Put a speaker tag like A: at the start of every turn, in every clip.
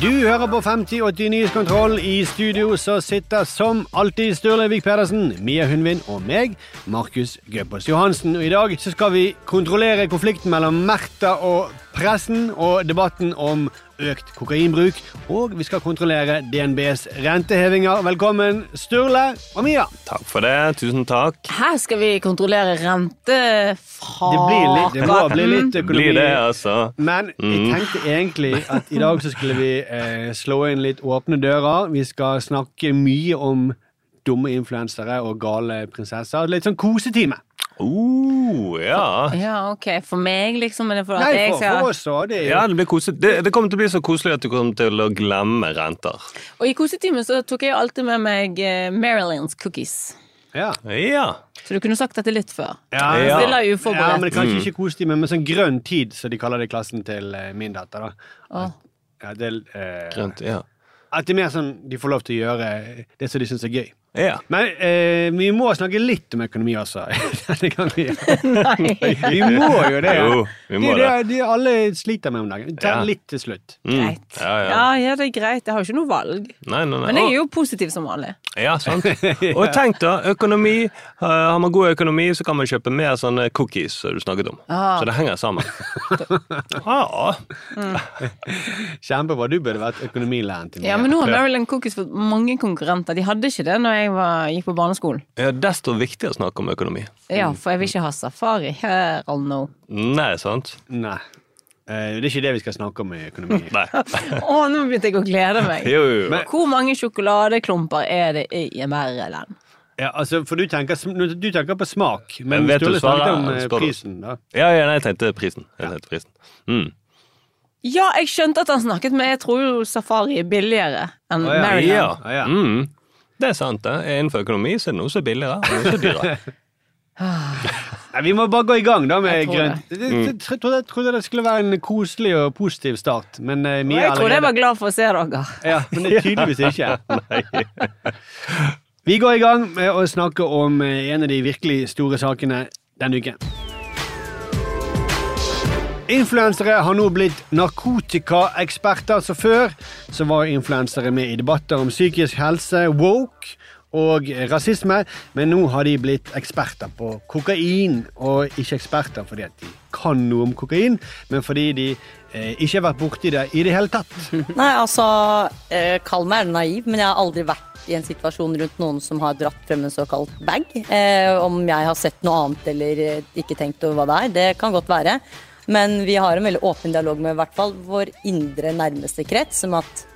A: Du hører på 5080 Nyhetskontroll. I studio så sitter som alltid Sturle Vik Pedersen, Mia Hundvin og meg, Markus Gøbbels Johansen. Og I dag så skal vi kontrollere konflikten mellom Märtha og pressen og debatten om økt kokainbruk. Og vi skal kontrollere DNBs rentehevinger. Velkommen, Sturle og Mia.
B: Takk for det. Tusen takk.
C: Her skal vi kontrollere rentefradrag.
A: Det, blir litt, det må bli litt økonomi.
B: Blir det, altså.
A: Men jeg
B: Mm.
A: tenkte egentlig at i dag så skulle vi eh, slå inn litt åpne dører. Vi skal snakke mye om dumme influensere og gale prinsesser. Litt sånn kosetime.
B: Oh, ja.
C: Ja, ok. For meg, liksom? Eller for
A: Nei,
C: at jeg
A: for, for
C: skal...
A: oss òg. Det er jo
B: Ja, det, blir koselig. det, det kommer til å bli så koselig at du kommer til å glemme renter.
C: Og i kosetimen så tok jeg alltid med meg eh, Marylands cookies.
A: Ja,
B: Ja.
C: Så du kunne sagt dette litt før.
A: ja.
B: Ja. Mm.
C: Så det la jeg
A: Ja, men
C: uforberedt.
A: det er kanskje ikke kosetime, men sånn grønn tid, som de kaller det i klassen til eh, min datter. da.
C: Åh.
A: Ja, det, eh,
B: Grønt, ja.
A: at det er mer sånn de får lov til å gjøre det som de syns er gøy.
B: Ja.
A: Men eh, vi må snakke litt om økonomi også. denne gangen.
C: Nei,
A: Vi må jo det.
B: Jo, vi
A: det,
B: må det.
A: er det alle sliter med om dagen. Ta
B: Ja.
A: litt til slutt.
B: Mm.
C: greit.
B: Ja, ja.
C: Ja, ja, det er greit. Jeg har jo ikke noe valg.
B: Nei, nei, nei.
C: Men jeg er jo positiv som vanlig.
B: Ja, sant. Og tenk da, økonomi. eh, Har man god økonomi, så kan man kjøpe mer sånne cookies som du snakket om.
C: Ah.
B: Så det henger sammen. Ja.
A: Kjempebra. Du burde vært økonomilærer til meg.
C: Ja, Men nå har Maryland cookies fått mange konkurrenter. De hadde ikke det når jeg var, gikk på barneskolen.
B: ja, desto viktigere å snakke om økonomi.
C: Ja, for jeg vil ikke ha safari her eller no.
B: Nei, sant?
A: Nei. Eh, det er ikke det vi skal snakke om i økonomi.
B: Nei.
C: Å, nå begynte jeg å glede meg.
B: Jo, jo, jo.
A: Men-
C: Hvor mange sjokoladeklumper er det i Maryland?
A: Ja, altså, for du tenker, sm- nå- du tenker på smak, men
B: Jeg vet
A: Sturle
B: du svarer,
A: snakket om eh,
B: spør du.
A: prisen. da.
B: Ja, ja, nei, jeg tenkte prisen. Jeg tenkte prisen. Mm.
C: Ja, jeg skjønte at han snakket, men jeg tror jo safari er billigere enn
A: Å, ja.
C: Maryland.
A: Ja, ja.
B: Mm. Det er sant. det. Innenfor økonomi så er det noe som er billigere, og noe som er dyrere.
A: Nei, vi må bare gå i gang da med
C: Jeg tror
A: grønt. Jeg,
B: Mm.
A: jeg, trodde- jeg trodde det skulle være en koselig og positiv start, men eh,
C: Og
A: Mia
C: jeg trodde jeg var
A: allerede-
C: glad for å se dere.
A: Ja, men det er tydeligvis ikke. Vi går i gang med å snakke om eh, en av de virkelig store sakene denne uken. Influensere har nå blitt narkotikaeksperter. Så før så var influensere med i debatter om psykisk helse, woke og rasisme. Men nå har de blitt eksperter på kokain. Og ikke eksperter fordi at de kan noe om kokain, men fordi de eh, ikke har vært borti det i det hele tatt.
D: Nei, altså, eh, kall meg gjerne naiv, men jeg har aldri vært i en situasjon rundt noen som har dratt frem en såkalt bag. Eh, om jeg har sett noe annet eller eh, ikke tenkt over hva det er, det kan godt være. Men vi har en veldig åpen dialog med i hvert fall vår indre nærmeste krets om at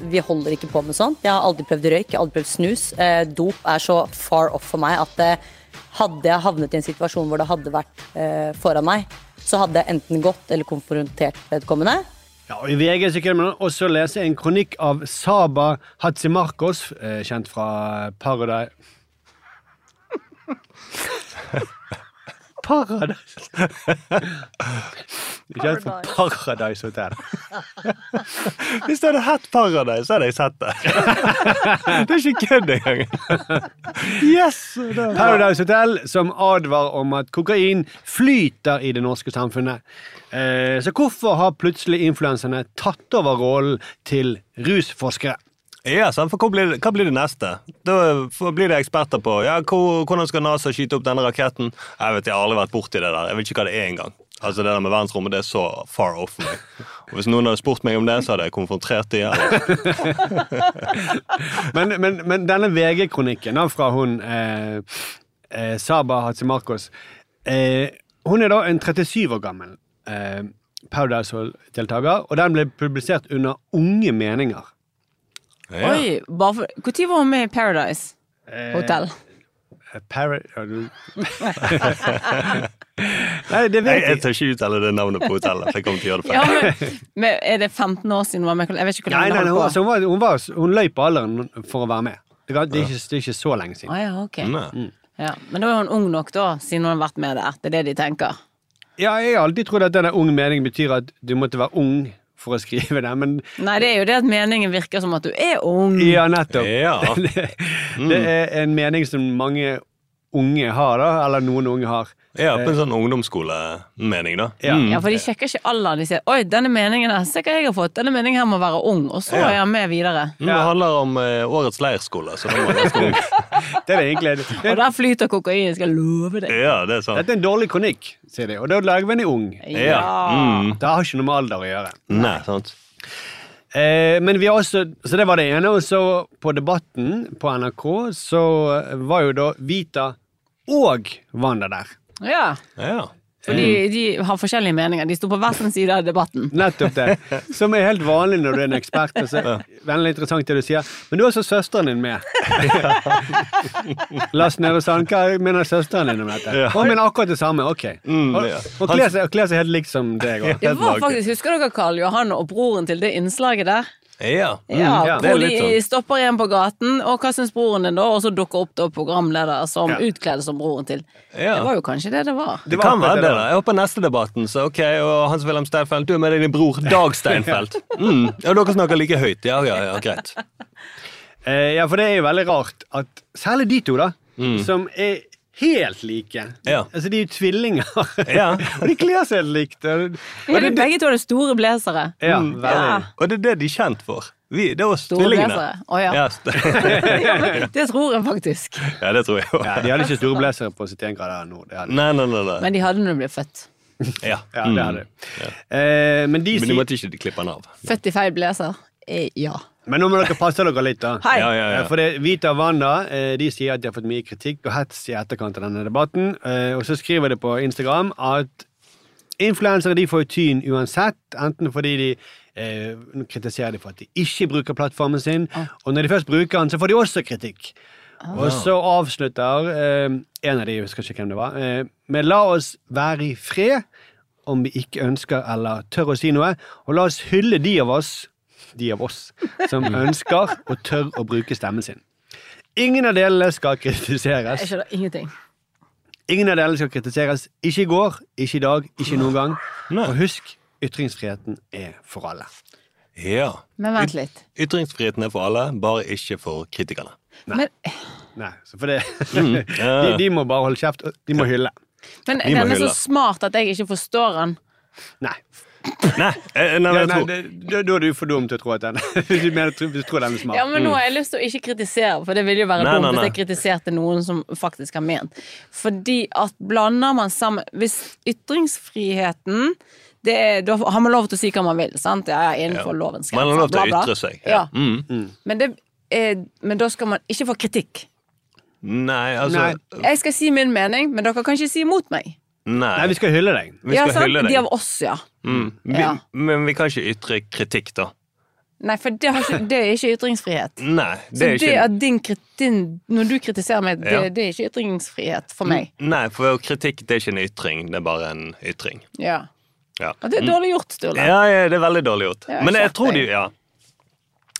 D: vi holder ikke på med sånt. Jeg har aldri prøvd røyk, jeg har aldri prøvd snus. Eh, dop er så far off for meg at eh, hadde jeg havnet i en situasjon hvor det hadde vært eh, foran meg, så hadde jeg enten gått eller konfrontert vedkommende.
A: Ja, og I VG så kunne man også lese en kronikk av Saba Hatsimarkos, eh, kjent fra Paradise Paradise Kjent fra Paradise Hotel.
B: Hvis det hadde hett Paradise, så hadde jeg sett det. det er ikke kødd engang. Yes! Det er bra.
A: Paradise Hotel som advarer om at kokain flyter i det norske samfunnet. Eh, så hvorfor har plutselig influenserne tatt over rollen til rusforskere?
B: Ja, sant? for hva blir, hva blir det neste? Da får- blir det eksperter på ja, hvor, hvordan skal NASA skyte opp denne raketten. Jeg vet, jeg har aldri vært borti det der. Jeg vet ikke hva det er engang. Altså, Det der med verdensrommet det er så far off for meg. Og Hvis noen hadde spurt meg om det, så hadde jeg konfrontert dem.
A: Men, men, men denne VG-kronikken da, fra hun eh, eh, Saba Hatsimarkos eh, Hun er da en 37 år gammel eh, Paradise Hotel-deltaker, og den ble publisert under Unge meninger.
B: Ja.
C: Oi, bare for... Når var hun med i Paradise Hotel?
A: Eh, Para... ja, du- Nei, det
B: Jeg,
A: vet
B: jeg
A: jeg
B: tør ikke uttale det navnet på hotellet. for jeg kommer til å gjøre det
C: Ja,
B: feil.
C: men, men Er det 15 år siden hun var med? Jeg vet ikke hvor
A: Nei,
C: lenge
A: nei,
C: det
A: nei, hun,
C: holdt
A: altså,
C: på.
A: hun, var, hun, var, hun løy på alderen for å være med. Det, var, det, er ikke, det er ikke så lenge siden.
C: Ah, ja, ok.
B: Nei.
C: ja. Men da er hun ung nok, da, siden hun har vært med der. Det er det de tenker.
A: Ja, jeg har alltid trodd at denne unge meningen betyr at du måtte være ung for å skrive det, men
C: Nei, det er jo det at meningen virker som at du er ung.
A: ja, nettopp.
B: Ja.
A: Mm.
B: Mm.
A: det, det er en mening som mange unge har, da, eller noen unge har.
B: Ja, på en sånn ungdomsskolemening, da.
A: Eh, Ja.
C: Ja, for de sjekker ikke alderen. De sier 'oi, denne meningen her, se hva jeg har fått', denne meningen her må være ung. Og så er han med videre.
B: Mm, Det handler om eh, årets leirskole. Så det var ganske ung.
A: Det er det egentlig det,
C: Og der flyter kokain, skal jeg love deg.
B: Ja, det er sant.
A: Dette er en dårlig kronikk, sier de, og da lager vi en ung.
B: Ja. Mm.
A: Det har ikke noe med alder å gjøre.
B: Nei, sant.
A: Eh, men vi har også, Så det var det ene. Og så på Debatten på NRK så var jo da Vita og Wanda der.
C: Ja,
B: Ja.
C: for de,
B: Mm.
C: de har forskjellige meninger. De sto på hver sin side av debatten.
A: Nettopp det. Som er helt vanlig når du er en ekspert. Og så, veldig interessant det du sier. Men du har også søsteren din med. Lars Nehru Sand, hva mener søsteren din om dette?
B: Ja.
A: Hun mener akkurat det samme. Ok.
B: Mm,
A: Og,
B: ja.
A: og kler seg, og kler seg helt likt som deg. også.
C: Det var
B: Helt naken.
C: faktisk, Husker dere Karl Johan og broren til det innslaget der?
B: Ja.
C: Ja,
A: ja.
B: Det er
C: Hvor
B: litt
C: de
B: sånn.
C: stopper igjen på gaten, og hva syns broren din da? Og så dukker opp da programleder som
A: Ja.
C: utkledd som broren til.
B: Ja.
C: Det var jo kanskje det det var.
B: Det
A: var
B: kan
A: akkurat
B: være
A: det det
B: det. da. Jeg håper neste debatten så ok, og Hans-Wilhelm Steinfeld, du er med deg din bror Dag Steinfeld. Mm. Ja, dere snakker like høyt. Ja, ja, ja, greit.
A: Eh, ja, for det er jo veldig rart at Særlig de to, da. Som er helt like.
B: Mm. Ja.
A: Altså, de er jo tvillinger.
B: Ja.
A: og de kler seg helt likt. og-
C: Ja, de begge to hadde store blazere.
A: Ja,
B: Mm.
A: veldig.
B: Og det er det de er kjent for. Vi, det er oss
C: Store
B: tvillingene.
C: lesere. Å, ja.
B: Ja, st-
C: Det tror jeg faktisk.
B: ja, det tror jeg òg.
A: Ja, de hadde ikke store blazere på 71 grader nå. Det hadde. de.
B: Nei, nei, nei. nei.
C: Men de hadde når de ble født.
B: Ja.
A: Ja,
B: Mm.
A: det hadde. de. Eh, men de
B: Men de
A: sier
B: måtte ikke klippe den av.
C: Født i feil blazer. Eh, ja.
A: Men nå må dere passe dere litt, da.
C: Hei!
B: Ja, ja,
A: Eh, For
B: ja.
A: det, Vita og Wanda eh, de sier at de har fått mye kritikk og hets i etterkant av denne debatten. eh, Og så skriver de på Instagram at influensere de får jo tyn uansett, enten fordi de eh, nå kritiserer de for at de ikke bruker plattformen sin, og når de først bruker den, så får de også kritikk. Og så avslutter eh, en av de, jeg husker ikke hvem det var, eh, med 'la oss være i fred'. Om vi ikke ønsker eller tør å si noe. Og la oss hylle de av oss de av oss som ønsker og tør å bruke stemmen sin. Ingen av delene skal
C: Jeg
A: kritiseres.
C: skjønner ingenting.
A: Ingen av delene skal kritiseres. Ikke i går, ikke i dag, ikke noen gang.
B: Nei.
A: Og husk, ytringsfriheten er for alle.
B: ja.
C: Men vent litt.
B: Ytringsfriheten er for alle, bare ikke for kritikerne.
C: Men,
A: Nei, så for det,
B: Mm, ja.
A: de, de må bare holde kjeft. og De må hylle.
C: men
B: må
C: den er så
B: hylle.
C: smart at jeg ikke forstår den.
A: Nei.
B: Nei, eh, nei,
A: Ja,
B: men jeg
A: nei
B: tror
A: det, da da er du for dum til å tro at den Hvis du, mener, hvis du tror den er smart.
C: Ja, men nå har jeg lyst til å ikke kritisere, for det ville jo være
B: Nei,
C: dumt
B: nei,
C: hvis
B: nei.
C: jeg kritiserte noen som faktisk har ment. Fordi at blander man sammen Hvis ytringsfriheten det er, Da har man lov til å si hva man vil, sant? Ja, ja, innenfor lovens
B: Man har lov til å ytre seg, ja. Mm.
C: Ja. Men, det, er, men da skal man ikke få kritikk.
B: Nei, altså
A: Nei.
C: Jeg skal si min mening, men dere kan ikke si imot meg.
A: Nei, vi skal hylle deg.
B: Vi skal
C: ja, sant?
B: hylle deg.
C: De av oss, ja.
B: Mm. Vi,
C: Ja.
B: Men vi kan ikke ytre kritikk, da.
C: Nei, for det, har ikke, det er ikke ytringsfrihet.
B: Nei,
C: Så
B: Mm. det er
C: det
B: ikke
C: at din, krit- din Når du kritiserer meg, det,
B: Ja. Mm.
C: det er ikke ytringsfrihet for meg.
B: Nei, for kritikk det er ikke en ytring, det er bare en ytring.
C: Ja.
B: Ja.
C: Og det er dårlig gjort, Sturle.
B: Ja, ja, det er veldig dårlig gjort.
C: Ja,
B: Men jeg
C: skjerp
B: tror de
C: deg.
B: ja.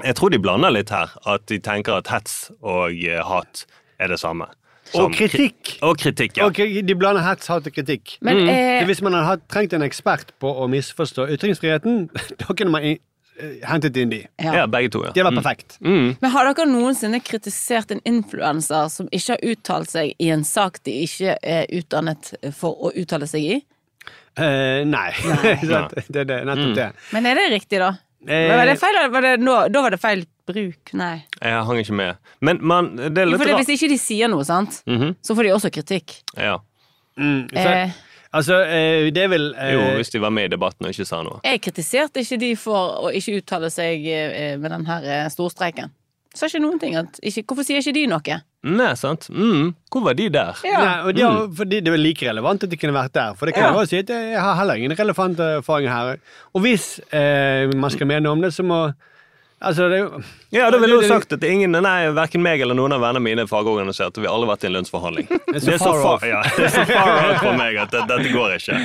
B: Jeg tror de blander litt her. At de tenker at hets og eh, hat er det samme. Som
A: Og kritikk.
B: kri- Og kritikk, Sånn. ja.
A: Ok, de blander hets, hat og kritikk.
C: Men
A: Så
B: Mm,
C: eh,
A: hvis man hadde hatt- trengt en ekspert på å misforstå ytringsfriheten, da kunne man i- eh, hentet inn de.
C: ja.
B: Ja, begge to.
A: Det
B: ja.
A: var perfekt.
B: Mm.
C: Men har dere noensinne kritisert en influenser som ikke har uttalt seg i en sak de ikke er utdannet for å uttale seg i?
A: Eh, nei. Sant? det er det,
B: Mm.
A: nettopp det.
C: Men er det riktig, da?
A: Eh,
C: Men var det feil, eller var det, nå, da var det feil bruk, nei.
B: Jeg hang ikke med. Men man, det er
C: Jo,
B: litt
C: for det,
B: rart.
C: hvis ikke de sier noe, sant,
B: Mhm.
C: så får de også kritikk.
B: ja.
A: Mm, så,
C: Eh,
A: altså, eh, det vil eh,
B: Jo, hvis de var med i debatten og ikke sa noe.
C: jeg kritiserte ikke de for å ikke uttale seg eh, med den her eh, storstreiken. Sa ikke noen ting. At ikke, hvorfor sier ikke de noe?
B: Nei, sant? Mm. Hvor var de der?
A: Nei, og det, er- fordi det er like relevant at de kunne vært der. For det kan
C: Ja.
A: jeg også si at jeg har heller ingen relevante erfaringer her. Og hvis eh, man skal mene noe om det, så må Altså, det er jo
B: Ja, da ville
A: Det-
B: hun
A: det-
B: sagt at ingen, nei, verken meg eller noen av vennene mine er fagorganiserte. Vi har alle vært i en lønnsforhandling. Det
A: så far off.
B: ja, det er så far out for meg at det, dette går ikke.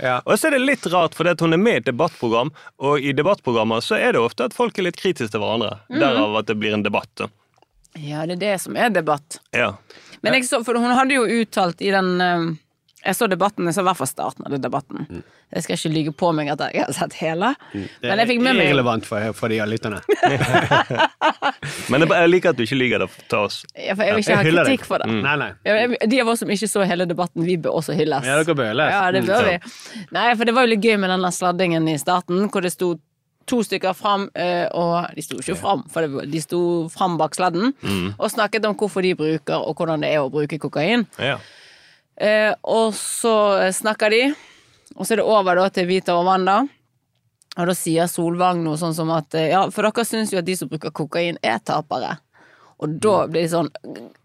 A: Ja.
B: Og så er det litt rart, fordi at hun er med i et debattprogram, og i debattprogrammer så er det ofte at folk er litt kritiske til hverandre. Derav at det blir en debatt. da.
C: Ja, det er det som er debatt.
B: Ja.
C: Men jeg så, for hun hadde jo uttalt i den eh, Jeg så debatten, jeg så i hvert fall starten av den debatten.
A: Mm.
C: Jeg skal ikke lyge på meg at jeg har sett hele.
A: Det
C: Men jeg fikk med
A: er
C: meg
A: Mm. irrelevant for, for de lytterne.
B: Men jeg, jeg liker at du ikke liker det til oss.
C: Ja, for Jeg vil ikke ha
A: hyller deg. Mm.
C: kritikk for det.
A: Nei, nei.
C: Ja, jeg- De av oss som ikke så hele debatten, vi bør også hylles.
A: Ja, dere bør hylles.
C: Ja, det bør
A: Mm,
C: vi. Nei, for det var jo litt gøy med den der sladdingen i starten, hvor det sto to stykker fram, eh, og de sto ikke fram, for det var- de sto fram bak sladden,
A: Mm.
C: og snakket om hvorfor de bruker, og hvordan det er å bruke kokain.
B: Ja.
C: Eh, og så eh, snakker de, og så er det over da til Vita og Wanda. Og da sier Solvang noe sånn som at eh, Ja, for dere syns jo at de som bruker kokain, er tapere. Og da blir de sånn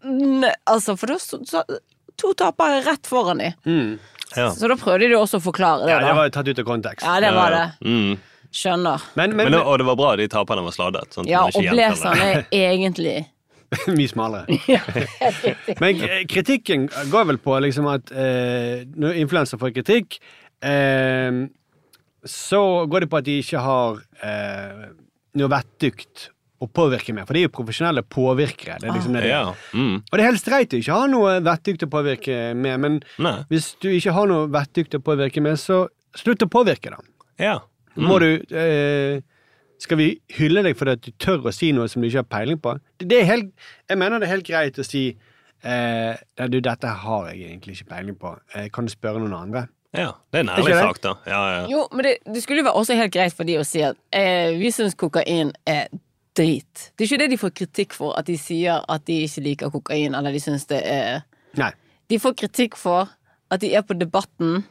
C: «N- Altså, for da så, så, To tapere rett foran de.
B: Ja.
C: Så da prøvde de også å forklare det,
A: Ja,
C: da.
A: det var jo tatt ut av kontekst.
C: Ja, det var det.
B: Mm.
C: Skjønner.
A: Men, men,
B: Men, det- og det var bra de taperne var sladdet. Sånn at
C: Ja,
B: man ikke
C: og
B: gjentar det.
C: blazeren er egentlig
A: Mye smalere. Men k- kritikken går vel på liksom at eh, når influenser får kritikk, eh, så går det på at de ikke har eh, noe vettdykt å påvirke med. For de er jo profesjonelle påvirkere. Det er liksom det de er.
B: Ja. Mm.
A: Og det er helt streit å ikke ha noe vettdykt å påvirke med, men
B: Nei.
A: hvis du ikke har noe vettdykt å påvirke med, så slutt å påvirke, da.
B: Ja.
C: Mm.
A: Mm. Må du eh, Skal vi hylle deg fordi at du tør å si noe som du ikke har peiling på? Det, det er helt, jeg mener det er helt greit å si eh, «Nei, du, dette har jeg egentlig ikke peiling på. Eh, kan du spørre noen andre?
B: ja. Det er en
A: Ikke
B: ærlig
A: det?
B: sak, da. Ja, ja.
C: Jo, men det, det skulle jo være også helt greit for de å si at eh, vi syns kokain er drit. Det er ikke det de får kritikk for, at de sier at de ikke liker kokain, eller de syns det er
A: Nei.
C: De får kritikk for at de er på Debatten,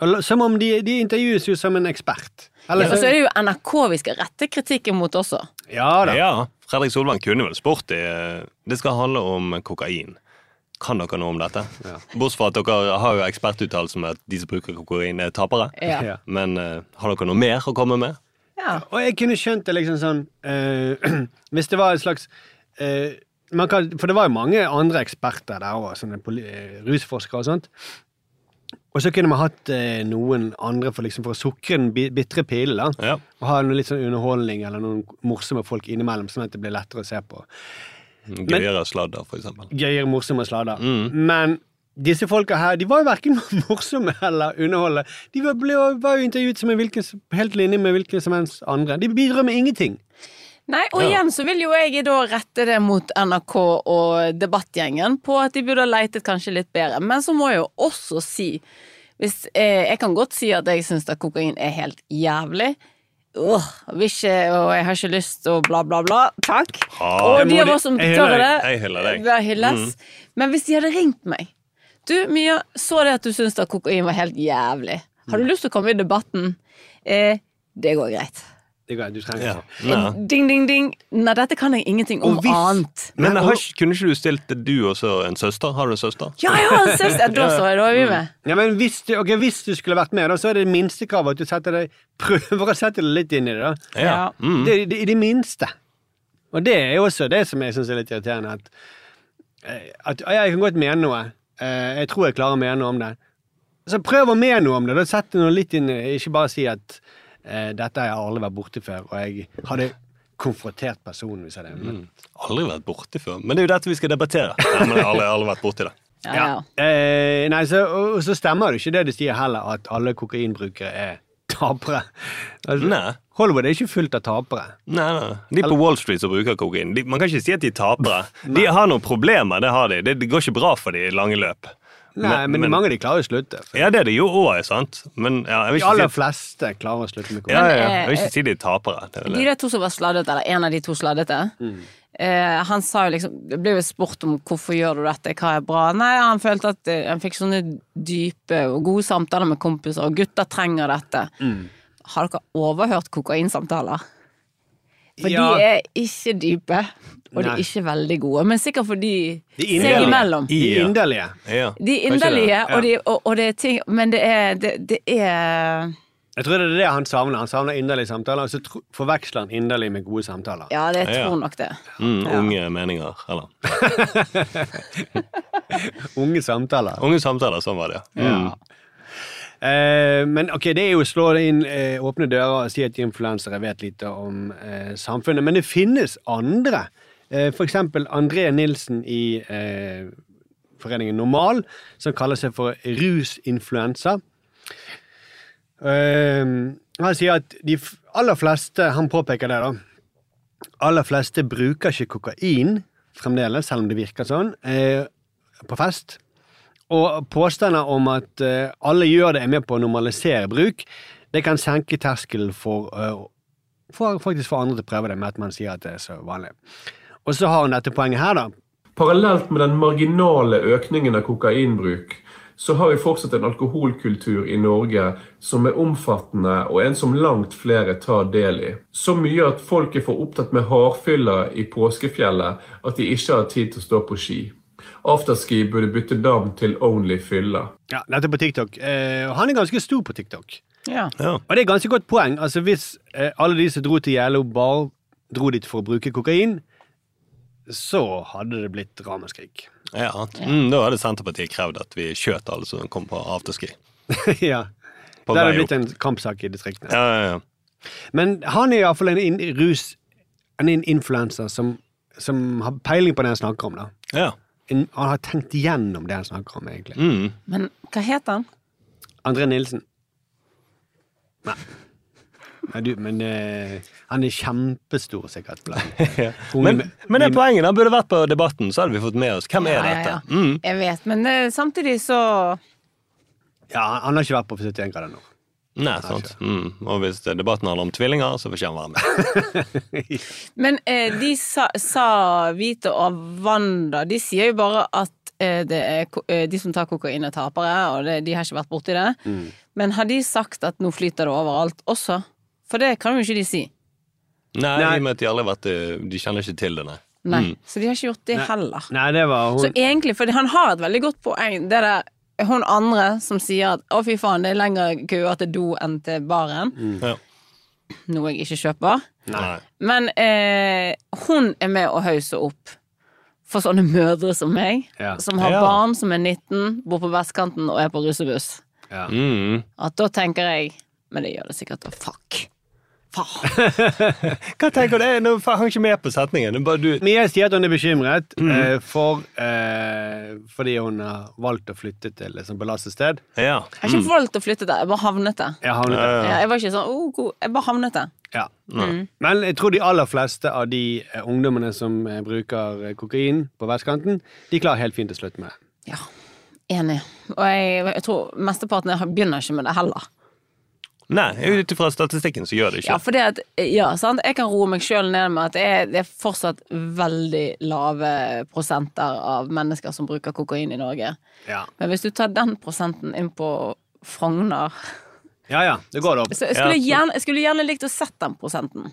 A: Og la- Som om de, de intervjues jo som en ekspert. Eller
C: og
A: så-
C: så Altså, er det jo NRK vi skal rette kritikken mot også.
A: ja da.
B: ja. Fredrik Solvang kunne vel spurt i eh, Det skal handle om kokain. Kan dere noe om dette? Bortsett fra at dere har jo ekspertuttalelse om at de som bruker kokain, er tapere.
C: Ja.
A: Ja.
B: Men eh, har dere noe mer å komme med?
C: Ja.
A: Og jeg kunne skjønt det liksom sånn eh, Hvis det var en slags eh, man kan, For det var jo mange andre eksperter der òg, sånne poli- eh, rusforskere og sånt. Og så kunne man hatt eh, noen andre for, liksom, for å sukre den bi- bitre pillen. da.
B: Ja.
A: Og ha noe litt sånn underholdning eller noen morsomme folk innimellom, sånn at det blir lettere å se på.
B: Gøyere sladder, for eksempel.
A: Gøyere, morsomme sladder. Men disse folka her, de var jo verken morsomme eller underholdende. De var, ble, var jo intervjuet som en hvilken, som- helt linje med hvilken som helst andre. De bidro med ingenting.
C: Nei, og igjen så vil jo jeg da rette det mot NRK og debattgjengen på at de burde ha leitet kanskje litt bedre. Men så må jeg jo også si hvis, eh, Jeg kan godt si at jeg syns at kokain er helt jævlig. Åh, vil ikke, og jeg har ikke lyst og bla, bla, bla. Takk.
B: Ah,
C: og de
A: jeg må-
C: av oss som
A: jeg hyller
C: tør det,
B: deg. Jeg hyller deg.
C: bør hylles. Men hvis de hadde ringt meg Du, Mia, så det at du syns at kokain var helt jævlig. Har du lyst til å komme i debatten? Eh, det går greit.
A: Det går, du trenger
B: Ja.
A: ikke.
B: Ja.
C: Ding, ding, ding. Nei, dette kan jeg ingenting om
A: Og hvis-
C: annet.
B: Men
A: Men-
B: har, ikke- kunne ikke du stilt du og så en søster? Har du en søster?
C: Ja, jeg har en søster! Da så jeg, da er vi med.
A: Ja, men hvis du, ok, hvis du skulle vært med, da, så er det minste kravet at du setter deg, prøver å sette deg litt inn i det. da.
C: Ja.
B: Mm.
A: Det, det, I det minste. Og det er jo også det som jeg syns er litt irriterende. At, eh, at ja, jeg kan godt mene noe. Eh, Jeg tror jeg klarer å mene noe om det. Så prøv å mene noe om det. Da Sett deg nå litt inn i det. Ikke bare si at eh, dette har jeg aldri vært borti før, og jeg hadde konfrontert personen hvis jeg hadde evnet.
B: Aldri vært borti før. Men det er jo dette vi skal debattere. Nei, men jeg har aldri, aldri vært borti det.
C: Ja, ja.
A: Eh, nei, så, og, og så stemmer det ikke det de sier heller, at alle kokainbrukere er tapere. Altså,
B: Nei.
A: Hollywood er ikke fullt av tapere.
B: Nei, nei. De på Wall Street som bruker kokain, de, man kan ikke si at de er tapere. De har noen problemer, det har de. Det, det går ikke bra for de i lange løp.
A: Nei, men, mange av de klarer å slutte. For
B: Ja, det er det jo òg, sant? Men ja, jeg
A: de
B: vil ikke si
A: aller
B: at,
A: fleste klarer å slutte med
B: ja,
A: kokain.
B: ja, ja. Jeg vil
C: Men, eh,
B: ikke si de er tapere. Det er vel
C: De
B: det.
C: der to som var sladdete, eller en av de to sladdete,
A: Mm.
C: eh, han sa jo liksom Det ble jo spurt om hvorfor gjør du dette, hva er bra? Nei, han følte at eh, han fikk sånne dype og gode samtaler med kompiser, og gutter trenger dette.
A: Mm.
C: Har dere overhørt kokainsamtaler? For
A: Ja.
C: de er ikke dype, og de
A: Nei.
C: er ikke veldig gode, men sikkert fordi
A: De er
C: seg imellom.
A: De er inderlige.
B: Ja.
C: De er
B: Kanskje det.
C: inderlige,
B: Ja.
C: og, de, og, og det er ting Men det er, det, det er
A: Jeg tror det er det han savner. Han savner inderlige samtaler, og så tro- forveksler han inderlig med gode samtaler.
C: Ja, det jeg
B: Ja.
C: tror nok det.
B: Mm, unge meninger, eller
A: Unge samtaler.
B: Unge samtaler, sånn var det. Mm.
A: Eh, men ok, det er jo å slå det inn eh, åpne dører og si at influensere vet lite om eh, samfunnet. Men det finnes andre. Eh, for eksempel André Nilsen i eh, Foreningen Normal, som kaller seg for rusinfluensa. Eh, han sier at de f- aller fleste Han påpeker det, da. aller fleste bruker ikke kokain fremdeles, selv om det virker sånn, eh, på fest. Og påstander om at eh, alle gjør det, er med på å normalisere bruk. Det kan senke terskelen for, eh, for faktisk for andre til å prøve det, med at man sier at det er så vanlig. Og så har hun dette poenget her, da.
E: Parallelt med den marginale økningen av kokainbruk, så har vi fortsatt en alkoholkultur i Norge som er omfattende, og en som langt flere tar del i. Så mye at folk er for opptatt med hardfylla i påskefjellet at de ikke har tid til å stå på ski. Afterski burde bytte navn til Only fylla.
A: Ja, dette er på TikTok. Eh, og han er ganske stor på TikTok.
C: Ja.
A: Og det er ganske godt poeng. Altså Hvis eh, alle de som dro til Gjello, bare dro dit for å bruke kokain, så hadde det blitt ramaskrik.
B: Ja. Mm, da hadde Senterpartiet krevd at vi skjøt alle som kom på afterski.
A: ja.
B: På
A: Det hadde
B: vei
A: blitt en kampsak i distriktene.
B: Ja, ja, ja.
A: Men han er iallfall en in rus... Han er en influenser som, som har peiling på det han snakker om. da.
B: ja.
A: En, han har tenkt igjennom det han snakker om, egentlig.
B: Mm.
C: Men hva het han?
A: André Nilsen. Nei. Nei du, men eh, han er kjempestor, sikkert. Blant.
B: Men, men det poenget da burde vært på Debatten, så hadde vi fått med oss hvem er
C: Ja, ja,
B: dette. Mm.
C: ja. Jeg vet, men eh, samtidig så
A: Ja, han har ikke vært på 71 grader nord.
B: Nei, sant. Mm. Og hvis eh, debatten handler om tvillinger, så får ikke han være med.
C: Men eh, de sa, sa Vito og Wanda De sier jo bare at eh, det er, ko- eh, de som tar kokain, er tapere, og det, de har ikke vært borti det.
B: Mm.
C: Men har de sagt at nå flyter det overalt også? For det kan jo ikke de si.
B: Nei,
A: Nei.
B: i og med at de aldri har vært eh, De kjenner ikke til det, nei.
C: Nei. Så de har ikke gjort det heller.
A: Nei, det var
C: Så
A: hun.
C: egentlig, for han har et veldig godt poeng, det der hun andre som sier at å, fy faen, det er lengre køer til do enn til baren,
B: Ja.
C: noe jeg ikke kjøper.
B: Mm. Nei.
C: Men eh, hun er med å hause opp for sånne mødre som meg,
A: Ja.
C: som har
B: Ja.
C: barn som er 19, bor på vestkanten og er på russebuss.
A: Ja.
B: Mm.
C: At da tenker jeg Men det gjør det sikkert, og fuck. Faen.
B: Hva tenker du? Jeg nå hang ikke med på setningen. Det er bare du
A: Mia sier at hun er bekymret
B: Mm.
A: eh, for, eh, fordi hun har valgt å flytte til et sånt belastet sted.
B: Ja. Mm. Eh,
C: Jeg har ikke valgt å flytte der, jeg bare havnet der.
A: Jeg havnet der.
C: Ja, jeg var ikke sånn oh, god. Jeg bare havnet der.
A: Ja. Men jeg tror de aller fleste av de eh, ungdommene som eh, bruker eh, kokain på vestkanten, de klarer helt fint å slutte med det.
C: Ja, enig. Og jeg, jeg tror mesteparten jeg begynner ikke med det heller.
B: Nei, ut ifra statistikken så gjør det
C: Ja,
B: ikke.
C: for det at, ja, sant? Jeg kan roe meg sjøl ned med at det er, det er fortsatt veldig lave prosenter av mennesker som bruker kokain i Norge.
A: Ja.
C: Men hvis du tar den prosenten inn på Frogner
A: Ja, ja, det går opp.
C: Så jeg skulle, gjerne, jeg skulle gjerne likt å sett den prosenten.